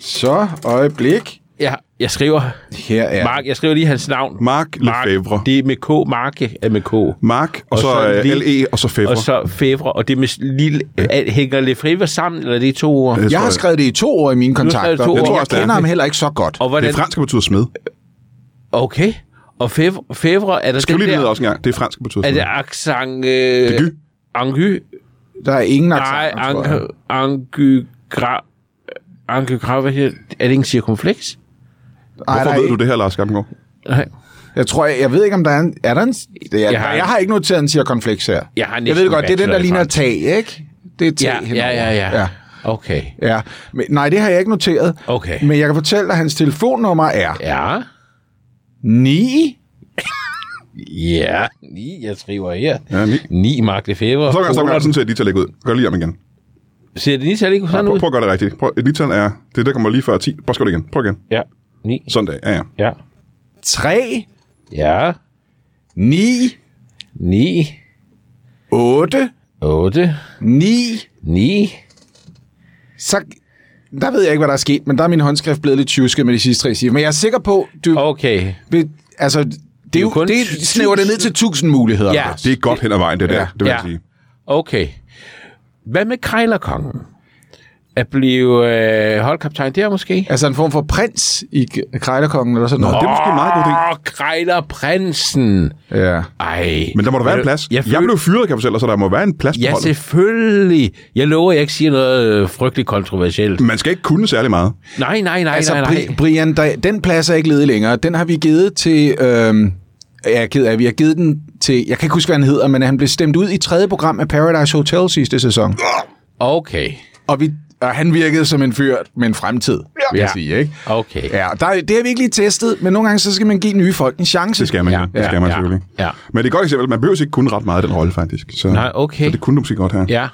[SPEAKER 2] Så, øjeblik.
[SPEAKER 3] Ja, jeg skriver.
[SPEAKER 2] Her er
[SPEAKER 3] Mark, jeg skriver lige hans navn.
[SPEAKER 1] Mark Lefebvre.
[SPEAKER 3] Det er med K. Marke er med K.
[SPEAKER 1] Mark, og
[SPEAKER 3] Og
[SPEAKER 1] så
[SPEAKER 3] så
[SPEAKER 1] øh,
[SPEAKER 3] lige-
[SPEAKER 1] L.E., og så Febvre.
[SPEAKER 3] Og så Fevre, og det er med s- lille... Ja. Hænger Lefebvre sammen, eller er det to ord?
[SPEAKER 1] Det tror
[SPEAKER 2] Jeg har skrevet det i to år i mine
[SPEAKER 3] har skrevet
[SPEAKER 2] kontakter,
[SPEAKER 3] to
[SPEAKER 2] men
[SPEAKER 1] år.
[SPEAKER 2] jeg,
[SPEAKER 1] Jeg tror også, det er.
[SPEAKER 2] kender ham heller ikke så godt.
[SPEAKER 3] Og
[SPEAKER 1] Det
[SPEAKER 3] hvordan...
[SPEAKER 1] er fransk, der betyder smed.
[SPEAKER 3] Okay. Og Fevre, Fevre er der
[SPEAKER 1] Skriv
[SPEAKER 3] den
[SPEAKER 1] lige det ned
[SPEAKER 3] der... Altså,
[SPEAKER 1] også en gang. Det er fransk, der betyder
[SPEAKER 3] Er
[SPEAKER 1] smed.
[SPEAKER 3] det accent... Øh,
[SPEAKER 1] Degu.
[SPEAKER 3] Angy?
[SPEAKER 2] Der er ingen
[SPEAKER 3] Nej,
[SPEAKER 1] Altså,
[SPEAKER 2] accent, tror jeg.
[SPEAKER 3] ang, angy... Gra, angy... Gra, hvad hedder... Er det ikke en cirkumflex?
[SPEAKER 2] Nej, der
[SPEAKER 1] Hvorfor
[SPEAKER 2] er
[SPEAKER 1] ved du
[SPEAKER 2] ikke.
[SPEAKER 1] det her, Lars Gammelgaard?
[SPEAKER 3] Nej.
[SPEAKER 2] Jeg tror, jeg, jeg ved ikke, om der er en... Er der en det er,
[SPEAKER 3] Jeg
[SPEAKER 2] jeg,
[SPEAKER 3] har
[SPEAKER 2] har,
[SPEAKER 3] ikke-
[SPEAKER 2] jeg har ikke noteret en cirkonfleks her.
[SPEAKER 3] Jeg har
[SPEAKER 2] jeg
[SPEAKER 3] næsten
[SPEAKER 2] ved det godt, det er den,
[SPEAKER 3] bachelor
[SPEAKER 2] der
[SPEAKER 3] i
[SPEAKER 2] ligner
[SPEAKER 3] fransk.
[SPEAKER 2] tag, ikke? Det er tag
[SPEAKER 3] Ja, ja, ja, ja,
[SPEAKER 2] ja.
[SPEAKER 3] Okay.
[SPEAKER 2] ja. Men, nej, det har jeg ikke noteret.
[SPEAKER 3] Okay.
[SPEAKER 2] Men jeg kan fortælle dig, at hans telefonnummer er
[SPEAKER 3] Ja.
[SPEAKER 2] 9...
[SPEAKER 3] Ja. Ni, jeg skriver her.
[SPEAKER 1] Ja, ni.
[SPEAKER 3] Ni Mark Lefebvre.
[SPEAKER 1] Så kan jeg så kan jeg sådan set lige tage lægge ud. Gør lige om igen.
[SPEAKER 3] Ser det nital ikke sådan
[SPEAKER 1] Prøv,
[SPEAKER 3] ud?
[SPEAKER 1] prøv at gøre det rigtigt. Prøv, et nital er det, der kommer lige før 10. Bare skriv det igen. Prøv igen.
[SPEAKER 3] Ja. Ni.
[SPEAKER 1] Sådan der. Ja, ja.
[SPEAKER 3] Ja.
[SPEAKER 2] 3...
[SPEAKER 3] Ja.
[SPEAKER 2] 9...
[SPEAKER 3] Ni.
[SPEAKER 2] 8...
[SPEAKER 3] Otte.
[SPEAKER 2] 9...
[SPEAKER 3] Ni.
[SPEAKER 2] Så... Der ved jeg ikke, hvad der er sket, men der er min håndskrift blevet lidt tjusket med de sidste tre cifre. Men jeg er sikker på, du...
[SPEAKER 3] Okay.
[SPEAKER 2] Ved- altså, det, er jo,
[SPEAKER 3] kun
[SPEAKER 2] det er-
[SPEAKER 3] tu-
[SPEAKER 2] snæver det ned til tusind muligheder.
[SPEAKER 3] Ja.
[SPEAKER 1] Det er godt hen ad vejen, det der.
[SPEAKER 2] Ja.
[SPEAKER 1] Det vil jeg
[SPEAKER 3] Ja.
[SPEAKER 1] sige.
[SPEAKER 3] Okay. Hvad med Krejlerkongen? At blive øh, holdkaptajn der måske?
[SPEAKER 2] Altså en form for prins i K- Krejlerkongen eller sådan noget.
[SPEAKER 1] Det er måske en meget god idé.
[SPEAKER 3] Åh, Ah, Krejlerprinsen.
[SPEAKER 2] Ja.
[SPEAKER 3] Ej.
[SPEAKER 1] Men der må der være
[SPEAKER 3] Ved
[SPEAKER 1] en
[SPEAKER 3] du-
[SPEAKER 1] plads.
[SPEAKER 3] Jeg,
[SPEAKER 1] Jeg,
[SPEAKER 3] føl-
[SPEAKER 1] blev fyret, kan jeg fortælle dig, så der må være en plads på
[SPEAKER 3] Ja,
[SPEAKER 1] holdet.
[SPEAKER 3] selvfølgelig. Jeg lover, at jeg ikke siger noget øh, frygteligt kontroversielt.
[SPEAKER 1] Man skal ikke kunne særlig meget.
[SPEAKER 3] Nej, nej, nej,
[SPEAKER 2] Mm. Altså,
[SPEAKER 3] nej,
[SPEAKER 2] Bri-
[SPEAKER 3] nej.
[SPEAKER 2] Brian, der, den plads er ikke ledig længere. Den har vi givet til... Øhm, jeg er ked af, vi har givet den til... Jeg kan ikke huske, hvad han hedder, men han blev stemt ud i tredje program af Paradise Hotel sidste sæson.
[SPEAKER 3] Okay.
[SPEAKER 2] Og, vi, og han virkede som en fyr med en fremtid, vil jeg
[SPEAKER 3] Ja.
[SPEAKER 2] sige, ikke?
[SPEAKER 3] Okay.
[SPEAKER 2] Ja, og der, det har vi ikke lige testet, men nogle gange så skal man give nye folk en chance.
[SPEAKER 1] Det skal man,
[SPEAKER 3] Ja,
[SPEAKER 1] ja. Det
[SPEAKER 3] ja,
[SPEAKER 1] skal man
[SPEAKER 3] ja,
[SPEAKER 1] selvfølgelig.
[SPEAKER 3] ja.
[SPEAKER 1] Men det er et godt eksempel. Man behøver ikke kunne ret meget i den rolle, faktisk. Så,
[SPEAKER 3] Nej, okay.
[SPEAKER 1] så det kunne du måske godt her.
[SPEAKER 3] Ja,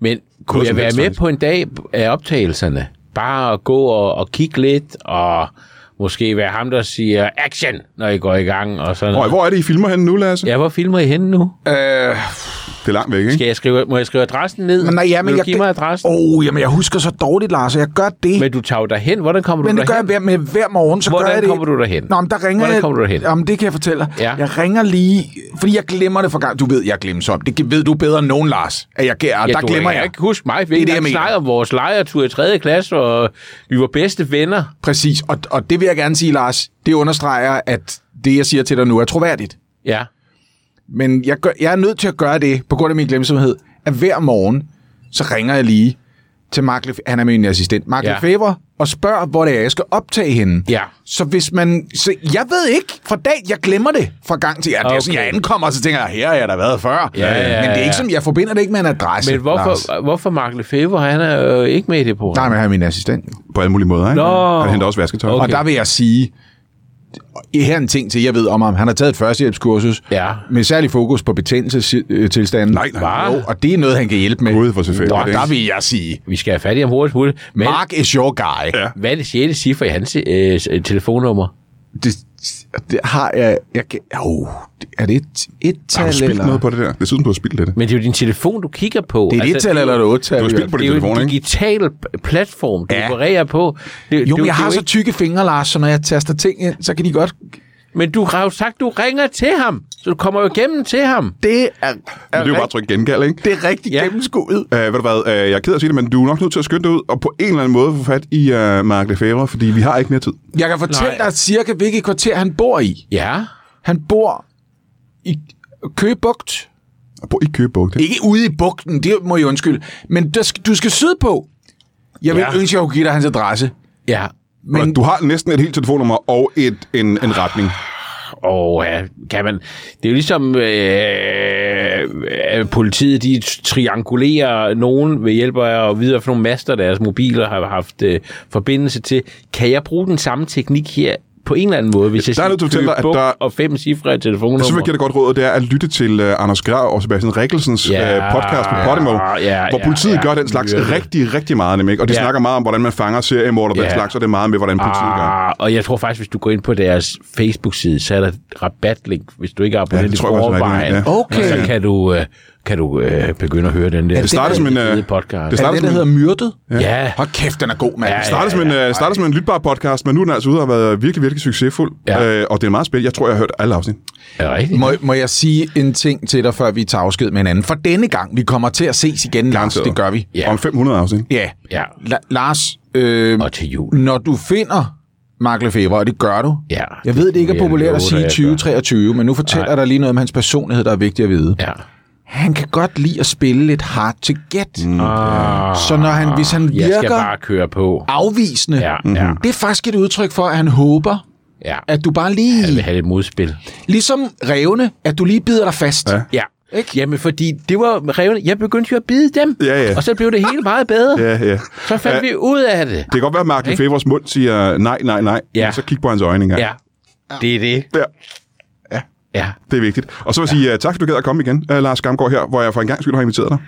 [SPEAKER 3] men kunne jeg
[SPEAKER 1] som
[SPEAKER 3] være
[SPEAKER 1] helst,
[SPEAKER 3] med
[SPEAKER 1] faktisk.
[SPEAKER 3] på en dag af optagelserne? Bare at gå og, og kigge lidt, og måske være ham, der siger action, når I går i gang, og sådan
[SPEAKER 1] Røg,
[SPEAKER 3] noget.
[SPEAKER 1] hvor er det, I filmer henne nu, Lasse?
[SPEAKER 3] Ja, hvor filmer I henne nu?
[SPEAKER 2] Øh,
[SPEAKER 1] Det er langt væk, ikke?
[SPEAKER 3] Skal jeg skrive, må jeg skrive adressen ned?
[SPEAKER 2] men nej, ja,
[SPEAKER 3] Vil
[SPEAKER 2] men
[SPEAKER 3] du
[SPEAKER 2] jeg...
[SPEAKER 3] give mig adressen?
[SPEAKER 2] Åh, oh, jamen jeg husker så dårligt, Lars, og jeg gør det.
[SPEAKER 3] Men du tager jo derhen. Hvordan kommer
[SPEAKER 2] Men
[SPEAKER 3] du
[SPEAKER 2] det gør jeg
[SPEAKER 3] derhen?
[SPEAKER 2] hver, med hver morgen, så
[SPEAKER 3] Hvordan
[SPEAKER 2] gør jeg det.
[SPEAKER 3] kommer du derhen?
[SPEAKER 2] Nå, men der ringer
[SPEAKER 3] Hvordan
[SPEAKER 2] jeg-
[SPEAKER 3] kommer du derhen?
[SPEAKER 2] Jamen, det kan jeg fortælle dig.
[SPEAKER 3] Ja.
[SPEAKER 2] Jeg ringer lige, fordi jeg glemmer det for gang. Du ved, jeg glemmer så. Det ved du bedre end nogen, Lars, at jeg gærer. der
[SPEAKER 3] du
[SPEAKER 2] glemmer
[SPEAKER 3] kan
[SPEAKER 2] jeg.
[SPEAKER 3] ikke huske mig.
[SPEAKER 2] Det
[SPEAKER 3] Vi
[SPEAKER 2] er
[SPEAKER 3] det
[SPEAKER 2] det,
[SPEAKER 3] er
[SPEAKER 2] jeg
[SPEAKER 3] det,
[SPEAKER 2] mener.
[SPEAKER 3] snakker om vores lejertur i 3. klasse, og vi var bedste venner.
[SPEAKER 2] Præcis, og, og det vil jeg gerne sige, Lars. Det understreger, at det, jeg siger til dig nu, er troværdigt.
[SPEAKER 3] Ja.
[SPEAKER 2] Men jeg, gør, jeg er nødt til at gøre det, på grund af min glemsomhed, at hver morgen, så ringer jeg lige til Mark Lef- han er min assistent, Mark
[SPEAKER 3] Ja.
[SPEAKER 2] ja. Lefebvre, og spørger, hvor det er, jeg skal optage hende.
[SPEAKER 3] Ja.
[SPEAKER 2] Så hvis man... Så jeg ved ikke, fra dag, jeg glemmer det fra gang til... Ja, det
[SPEAKER 3] Okay.
[SPEAKER 2] er sådan, jeg ankommer, og så tænker jeg, her har jeg da været før.
[SPEAKER 3] Ja, ja, ja,
[SPEAKER 2] men det er
[SPEAKER 3] ja.
[SPEAKER 2] ikke som, jeg forbinder det ikke med en adresse,
[SPEAKER 3] Men
[SPEAKER 2] Lars.
[SPEAKER 3] hvorfor, hvorfor Mark Lefebvre? Han er jo ikke med i det program.
[SPEAKER 2] Nej, men han er min assistent. Okay.
[SPEAKER 1] På alle mulige måder, ikke?
[SPEAKER 3] Nå.
[SPEAKER 1] Han henter også vasketøj.
[SPEAKER 3] Okay.
[SPEAKER 2] Og der vil jeg sige... Her er en ting til, jeg ved om ham. Han har taget et førstehjælpskursus
[SPEAKER 3] Ja.
[SPEAKER 2] med særlig fokus på betændelsestilstanden.
[SPEAKER 1] Nej, nej.
[SPEAKER 2] Jo, og det er noget, han kan hjælpe med.
[SPEAKER 1] Gud, hvor selvfølgelig,
[SPEAKER 2] Og
[SPEAKER 1] ikke?
[SPEAKER 2] der vil jeg sige,
[SPEAKER 3] Vi skal have fat i ham hurtigt hurtigt. Men
[SPEAKER 2] Mark is your guy. Ja.
[SPEAKER 3] hvad er det sjette cifre i hans øh, s- telefonnummer?
[SPEAKER 2] Det, det har jeg... jeg kan, oh, er det et,
[SPEAKER 1] Har
[SPEAKER 2] et tal,
[SPEAKER 1] du spildt
[SPEAKER 2] eller?
[SPEAKER 1] noget på det der? Det synes, du har spildt det.
[SPEAKER 3] Men det er jo din telefon, du kigger på. Altså,
[SPEAKER 2] Det er et et tal, eller et otte tal?
[SPEAKER 1] Du har spildt på
[SPEAKER 3] Det
[SPEAKER 1] din
[SPEAKER 3] er jo
[SPEAKER 1] telefon,
[SPEAKER 3] en
[SPEAKER 1] ikke?
[SPEAKER 3] digital p- platform, du ja.
[SPEAKER 2] Ja.
[SPEAKER 3] opererer på. Det,
[SPEAKER 2] Jo,
[SPEAKER 3] det,
[SPEAKER 2] men jeg
[SPEAKER 3] det
[SPEAKER 2] har
[SPEAKER 3] jo
[SPEAKER 2] så
[SPEAKER 3] ikke-
[SPEAKER 2] tykke fingre, Lars, så når jeg taster ting ind, så kan de godt...
[SPEAKER 3] Men du har jo sagt, du ringer til ham. Så du kommer jo igennem til ham.
[SPEAKER 2] Det er,
[SPEAKER 1] Men det er jo bare at trykke gengæld, ikke?
[SPEAKER 2] det er rigtig
[SPEAKER 3] Ja.
[SPEAKER 2] ja. gennemskuet.
[SPEAKER 1] Uh, ved du hvad, uh, jeg er ked af at sige det, men du er nok nødt til at skynde dig ud og på en eller anden måde få fat i uh, Mark Lefebvre, fordi vi har ikke mere tid.
[SPEAKER 2] Jeg kan fortælle
[SPEAKER 3] Nej.
[SPEAKER 2] dig cirka, hvilket kvarter han bor i.
[SPEAKER 3] Ja.
[SPEAKER 2] Han bor i Køgebugt.
[SPEAKER 1] Og på i Køgebugt.
[SPEAKER 2] Ikke ude i bugten, det må jeg undskylde. Men der skal, du skal syde på. Jeg vil
[SPEAKER 3] Ja.
[SPEAKER 2] ja. ønske, at jeg kunne give dig hans adresse.
[SPEAKER 3] Ja.
[SPEAKER 1] Men...
[SPEAKER 2] Men-
[SPEAKER 3] Ah,
[SPEAKER 1] Du har næsten et helt telefonnummer og et, en, en retning.
[SPEAKER 3] Og ja, kan man... Det er jo ligesom øh, øh, politiet, de triangulerer nogen ved hjælp af at vide, hvad for nogle master deres mobiler har haft øh, forbindelse til. Kan jeg bruge den samme teknik her på en eller anden måde, hvis jeg
[SPEAKER 1] Der er
[SPEAKER 3] siger
[SPEAKER 1] noget, du fortæller,
[SPEAKER 3] køb
[SPEAKER 1] at
[SPEAKER 3] bog
[SPEAKER 1] der-
[SPEAKER 3] og fem cifre i
[SPEAKER 1] Jeg synes,
[SPEAKER 3] telefonnummer?
[SPEAKER 1] jeg giver dig godt råd, det er at lytte til uh, Anders Grav og Sebastian Rikkelsens
[SPEAKER 3] Ja,
[SPEAKER 1] yeah, uh, podcast på Podimo,
[SPEAKER 3] ja,
[SPEAKER 1] hvor
[SPEAKER 3] ja,
[SPEAKER 1] politiet
[SPEAKER 3] ja.
[SPEAKER 1] gør den slags
[SPEAKER 3] Myrdet.
[SPEAKER 1] rigtig, rigtig meget, nemlig. ikke? Og de
[SPEAKER 3] Ja.
[SPEAKER 1] snakker meget om, hvordan man fanger seriemorder og den
[SPEAKER 3] Ja.
[SPEAKER 1] slags, og det er meget med, hvordan politiet gør.
[SPEAKER 3] Ah, og jeg tror faktisk, hvis du går ind på deres Facebook-side, så er der et rabatlink, hvis du ikke er
[SPEAKER 1] Ja, det
[SPEAKER 3] abonnent ja,
[SPEAKER 1] tror
[SPEAKER 3] i
[SPEAKER 1] jeg faktisk, der er et
[SPEAKER 3] forvejen.
[SPEAKER 1] link, ja.
[SPEAKER 2] Okay.
[SPEAKER 3] Så kan du, øh, kan du øh, begynde at høre den der.
[SPEAKER 1] Det starter som en, øh,
[SPEAKER 3] fede podcast.
[SPEAKER 1] det
[SPEAKER 2] Er
[SPEAKER 1] starter
[SPEAKER 2] det,
[SPEAKER 1] som
[SPEAKER 2] der
[SPEAKER 1] en-
[SPEAKER 2] hedder Myrdet?
[SPEAKER 3] Ja.
[SPEAKER 2] Hold kæft, den er god, mand.
[SPEAKER 3] Ja, ja.
[SPEAKER 1] startede som en, øh, startede som en lytbar podcast, men nu er den altså ude og har været virkelig, virkelig succesfuld.
[SPEAKER 3] Ja.
[SPEAKER 1] Øh, og det er meget spændende. Jeg tror, jeg har hørt alle afsnit.
[SPEAKER 3] Er det rigtigt?
[SPEAKER 2] Må, må jeg sige en ting til dig, før vi tager afsked med hinanden? For denne gang, vi kommer til at ses igen, Lars.
[SPEAKER 1] Garanteret.
[SPEAKER 2] Det gør vi.
[SPEAKER 3] Ja.
[SPEAKER 1] Om 500 afsnit.
[SPEAKER 2] Ja.
[SPEAKER 3] Ja.
[SPEAKER 2] La- Lars, øh,
[SPEAKER 3] Og til jul.
[SPEAKER 2] når du finder Mark Lefebvre, og det gør du.
[SPEAKER 3] Ja.
[SPEAKER 2] Jeg ved, det ikke er
[SPEAKER 3] Det vil jeg
[SPEAKER 2] populært
[SPEAKER 3] love
[SPEAKER 2] at
[SPEAKER 3] dig,
[SPEAKER 2] sige
[SPEAKER 3] jeg gør.
[SPEAKER 2] 2023, men nu fortæller jeg dig lige noget om hans personlighed, der er vigtigt at vide.
[SPEAKER 3] Ja.
[SPEAKER 2] Han kan godt lide at spille lidt hard to get. Mm.
[SPEAKER 3] Ah,
[SPEAKER 2] Så når han, hvis han
[SPEAKER 3] jeg skal
[SPEAKER 2] virker
[SPEAKER 3] bare køre på.
[SPEAKER 2] afvisende,
[SPEAKER 3] Ja, ja,
[SPEAKER 2] det er faktisk et udtryk for, at han håber,
[SPEAKER 3] ja.
[SPEAKER 2] at du bare
[SPEAKER 3] Jeg vil
[SPEAKER 2] lige,
[SPEAKER 3] have lidt modspil.
[SPEAKER 2] ligesom revne, at du lige bider dig fast.
[SPEAKER 1] Ja.
[SPEAKER 3] Ja.
[SPEAKER 2] Ikke?
[SPEAKER 3] Jamen, fordi det var revne. Jeg begyndte jo at bide dem.
[SPEAKER 1] Ja, ja.
[SPEAKER 3] Og så blev det hele meget bedere.
[SPEAKER 1] Ja, ja.
[SPEAKER 3] Så fandt vi ud af det.
[SPEAKER 1] Det kan godt være, at Mark Lefebvre's mund siger nej, nej, nej.
[SPEAKER 3] Ja.
[SPEAKER 1] Men Så kig på hans øjne engang.
[SPEAKER 3] Ja. Det er det.
[SPEAKER 1] Ja.
[SPEAKER 3] Ja.
[SPEAKER 1] Det er vigtigt. Og så vil jeg sige uh, tak, fordi du gad at komme igen, uh, Lars Gamgaard her, hvor jeg for en gang skyld har inviteret dig.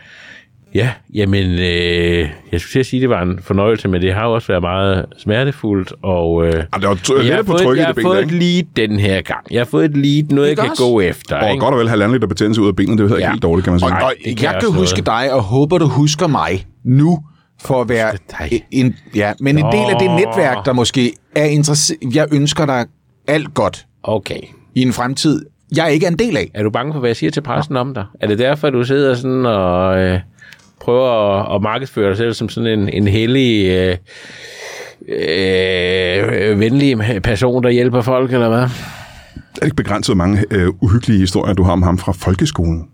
[SPEAKER 3] Ja, jamen, øh, jeg skulle til at sige, at det var en fornøjelse, men det har jo også været meget smertefuldt, og... Øh,
[SPEAKER 1] Ah, det var t-
[SPEAKER 3] jeg har
[SPEAKER 1] lidt på
[SPEAKER 3] fået,
[SPEAKER 1] trykket i
[SPEAKER 3] jeg har
[SPEAKER 1] det ben,
[SPEAKER 3] fået
[SPEAKER 1] ikke?
[SPEAKER 3] et lead den her gang. Jeg har fået et lead, noget jeg
[SPEAKER 2] Ikke
[SPEAKER 3] kan
[SPEAKER 2] også?
[SPEAKER 3] gå efter.
[SPEAKER 1] Og
[SPEAKER 3] ikke?
[SPEAKER 1] godt og vel halvanden liter betændelse ud af benet, det ved jeg ikke
[SPEAKER 3] Ja.
[SPEAKER 1] helt dårligt, kan man sige.
[SPEAKER 2] Og, og
[SPEAKER 3] det kan
[SPEAKER 2] jeg,
[SPEAKER 3] jeg
[SPEAKER 2] jeg kan
[SPEAKER 3] også
[SPEAKER 2] huske dig, og håber, du husker mig nu, for at være
[SPEAKER 3] Husker dig.
[SPEAKER 2] en, ja, men en del af det netværk, der måske er interesseret. Jeg ønsker dig alt godt
[SPEAKER 3] Okay.
[SPEAKER 2] i en fremtid, jeg ikke er en del af.
[SPEAKER 3] Er du bange for, hvad jeg siger til pressen om dig? Er det derfor, du sidder sådan og øh, prøver at, at markedsføre dig selv som sådan en, en hellig, øh, øh, venlig person, der hjælper folk, eller hvad?
[SPEAKER 1] Er det ikke begrænset, hvor mange øh, uhyggelige historier, du har om ham fra folkeskolen?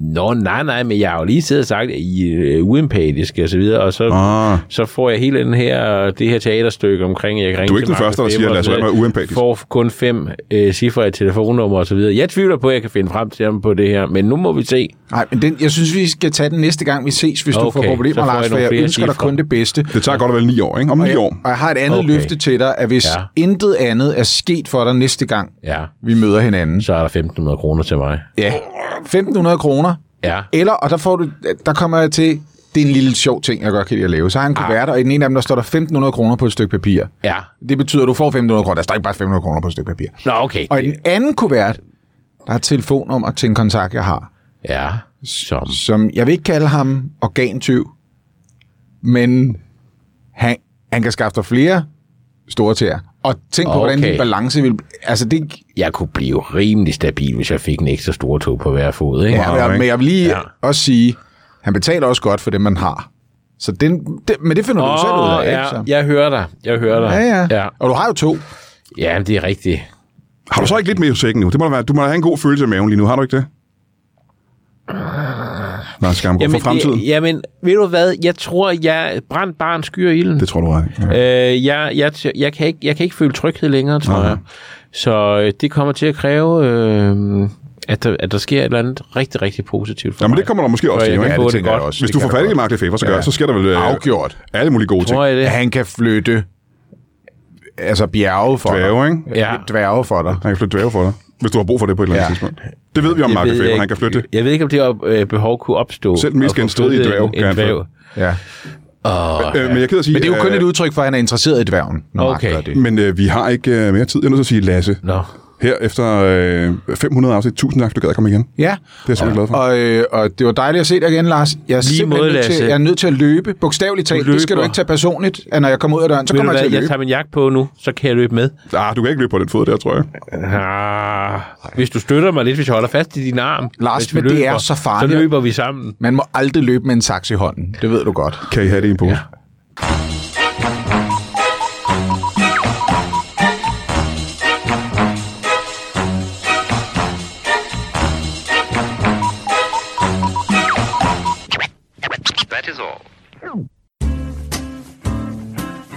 [SPEAKER 3] Nå, nej, nej, men jeg har jo lige siddet og sagt, at I er øh, uempatiske og så videre, og så,
[SPEAKER 1] Ah.
[SPEAKER 3] så får jeg hele den her, det her teaterstykke omkring, at jeg kan ringe
[SPEAKER 1] Du er ikke
[SPEAKER 3] til
[SPEAKER 1] den
[SPEAKER 3] Mark
[SPEAKER 1] første, der
[SPEAKER 3] Lefebvre
[SPEAKER 1] siger, at
[SPEAKER 3] og
[SPEAKER 1] Lasse
[SPEAKER 3] så videre.
[SPEAKER 1] Rømer er uempatisk.
[SPEAKER 3] Får kun fem øh, cifre i telefonnummer og så videre. Jeg tvivler på, at jeg kan finde frem til ham på det her, men nu må vi se.
[SPEAKER 2] Nej, men den, jeg synes, vi skal tage den næste gang, vi ses, hvis okay, du
[SPEAKER 3] Okay,
[SPEAKER 2] får
[SPEAKER 3] så
[SPEAKER 2] problemer,
[SPEAKER 3] får
[SPEAKER 2] Lars,
[SPEAKER 3] jeg
[SPEAKER 2] for
[SPEAKER 3] nogle
[SPEAKER 2] jeg
[SPEAKER 3] flere
[SPEAKER 2] ønsker dig
[SPEAKER 3] cifre.
[SPEAKER 2] kun det bedste.
[SPEAKER 1] Det tager godt og vel ni år, ikke? Om ni år.
[SPEAKER 2] Og jeg har et andet
[SPEAKER 3] Okay.
[SPEAKER 2] okay. løfte til dig, at hvis
[SPEAKER 3] Ja.
[SPEAKER 2] ja. intet andet er sket for dig næste gang,
[SPEAKER 3] Ja,
[SPEAKER 2] vi møder hinanden,
[SPEAKER 3] så er der 1.500 kroner til mig.
[SPEAKER 2] ja, 1.500 kroner,
[SPEAKER 3] Ja,
[SPEAKER 2] Eller, og der, får du, der kommer jeg til, det er en lille sjov ting, jeg godt kan lide at lave. Så har jeg en
[SPEAKER 3] Ah.
[SPEAKER 2] kuvert, og i den ene af dem, der står der 1.500 kroner på et stykke papir.
[SPEAKER 3] ja.
[SPEAKER 2] Det betyder, at du får 1.500 kroner. Der står ikke bare 1.500 kroner på et stykke papir.
[SPEAKER 3] Nå, okay.
[SPEAKER 2] Og i den anden kuvert, der er et telefonnummer til en kontakt, jeg har,
[SPEAKER 3] Ja, som...
[SPEAKER 2] som jeg vil ikke kalde ham organtyv, men han, han kan skaffe dig flere store tæer. Og tænk på, okay. hvordan
[SPEAKER 3] Okay.
[SPEAKER 2] din balance vil... Altså, det,
[SPEAKER 3] Jeg kunne blive rimelig stabil, hvis jeg fik en ekstra stor tog på hver fod, ikke?
[SPEAKER 2] Ja, men, jeg,
[SPEAKER 1] ikke?
[SPEAKER 2] men jeg vil lige
[SPEAKER 3] Ja.
[SPEAKER 2] ja. også sige, han betaler også godt for det, man har. Så den, det, men det finder du selv ud af,
[SPEAKER 3] ja,
[SPEAKER 2] ikke? Så.
[SPEAKER 3] jeg hører dig. Jeg hører dig.
[SPEAKER 2] Ja, ja,
[SPEAKER 3] ja.
[SPEAKER 2] Og du har jo to.
[SPEAKER 3] Ja, det er rigtigt.
[SPEAKER 1] Har du så ikke lidt mere i sækken nu? Det må da være, du må da have en god følelse i maven lige nu, har du ikke det?
[SPEAKER 2] Øh.
[SPEAKER 1] Lars Gamgaard, for fremtiden?
[SPEAKER 3] Det,
[SPEAKER 1] Det,
[SPEAKER 3] jamen, ved du hvad? Jeg tror, jeg brændt barn skyer ilden.
[SPEAKER 1] tror du ret. i. Ja.
[SPEAKER 3] Øh, jeg, jeg, jeg, kan ikke, jeg kan ikke føle tryghed længere, tror jeg. Så øh, det kommer til at kræve, øh, at, der, at der sker et eller andet rigtig, rigtig positivt for
[SPEAKER 1] Nå, men
[SPEAKER 3] mig.
[SPEAKER 1] det kommer der måske også
[SPEAKER 3] Så
[SPEAKER 1] til,
[SPEAKER 3] jeg
[SPEAKER 1] jo,
[SPEAKER 3] kan
[SPEAKER 1] ikke?
[SPEAKER 3] få
[SPEAKER 2] det
[SPEAKER 3] det
[SPEAKER 2] tænker
[SPEAKER 3] godt.
[SPEAKER 2] jeg også.
[SPEAKER 1] Hvis
[SPEAKER 2] Det
[SPEAKER 1] du
[SPEAKER 2] kan
[SPEAKER 1] får fat
[SPEAKER 2] du
[SPEAKER 1] i Mark Lefebvre, så, gør,
[SPEAKER 2] Ja.
[SPEAKER 1] så sker der vel øh,
[SPEAKER 2] Afgjort.
[SPEAKER 1] alle mulige gode ting.
[SPEAKER 3] Tror jeg det?
[SPEAKER 2] At han kan flytte altså bjerge for
[SPEAKER 1] Dværge,
[SPEAKER 2] dig.
[SPEAKER 1] ikke?
[SPEAKER 3] Ja.
[SPEAKER 2] Dværge for dig.
[SPEAKER 1] Han kan flytte dværge for dig, hvis du har brug for det på et eller andet
[SPEAKER 2] Ja.
[SPEAKER 1] tidspunkt. Det ved vi om
[SPEAKER 3] Det
[SPEAKER 1] Mark
[SPEAKER 3] ved jeg
[SPEAKER 1] Lefebvre,
[SPEAKER 3] ikke.
[SPEAKER 1] han kan flytte det.
[SPEAKER 3] Jeg ved ikke, om det op, øh, behov kunne opstå.
[SPEAKER 1] Selv den mest
[SPEAKER 3] at få
[SPEAKER 1] genstridige
[SPEAKER 3] flyttet
[SPEAKER 1] dværg
[SPEAKER 3] en-
[SPEAKER 1] kan
[SPEAKER 3] en
[SPEAKER 1] han flytte.
[SPEAKER 3] dværg.
[SPEAKER 2] Ja.
[SPEAKER 1] Øh, men jeg kan sige,
[SPEAKER 2] Men det er jo kun
[SPEAKER 1] øh,
[SPEAKER 2] et udtryk for, at han er interesseret i dværgen, når okay.
[SPEAKER 3] Okay.
[SPEAKER 2] Mark gør det.
[SPEAKER 1] Men øh, vi har ikke øh, mere tid. Jeg er nødt til at sige, Lasse,
[SPEAKER 3] Nå.
[SPEAKER 1] her efter øh, 500 afsnit, tusind tak, du gad at komme igen. Det
[SPEAKER 2] Ja,
[SPEAKER 1] er jeg simpelthen glad for.
[SPEAKER 2] og, øh, og det var dejligt at se dig igen, Lars. Jeg er, simpelthen
[SPEAKER 3] måde,
[SPEAKER 2] nødt til,
[SPEAKER 3] Lasse.
[SPEAKER 2] jeg er nødt til at løbe, bogstaveligt talt. Det skal du
[SPEAKER 3] løber.
[SPEAKER 2] ikke tage personligt, at når jeg kommer ud af døren, så
[SPEAKER 3] Ved du
[SPEAKER 2] kommer jeg til
[SPEAKER 3] hvad?
[SPEAKER 2] at
[SPEAKER 3] Jeg
[SPEAKER 2] løbe.
[SPEAKER 3] tager min jakke på nu, så kan jeg løbe med.
[SPEAKER 1] Ah, du kan ikke løbe på den fod der, tror jeg.
[SPEAKER 3] Ah, hvis du støtter mig lidt, hvis jeg holder fast i din arm.
[SPEAKER 2] Lars,
[SPEAKER 3] hvis vi
[SPEAKER 2] men det er så farligt.
[SPEAKER 3] Så løber vi sammen.
[SPEAKER 2] Man må aldrig løbe med en saks i hånden. Det ved du godt.
[SPEAKER 1] Kan I have det i en pose? Ja.
[SPEAKER 5] That is all.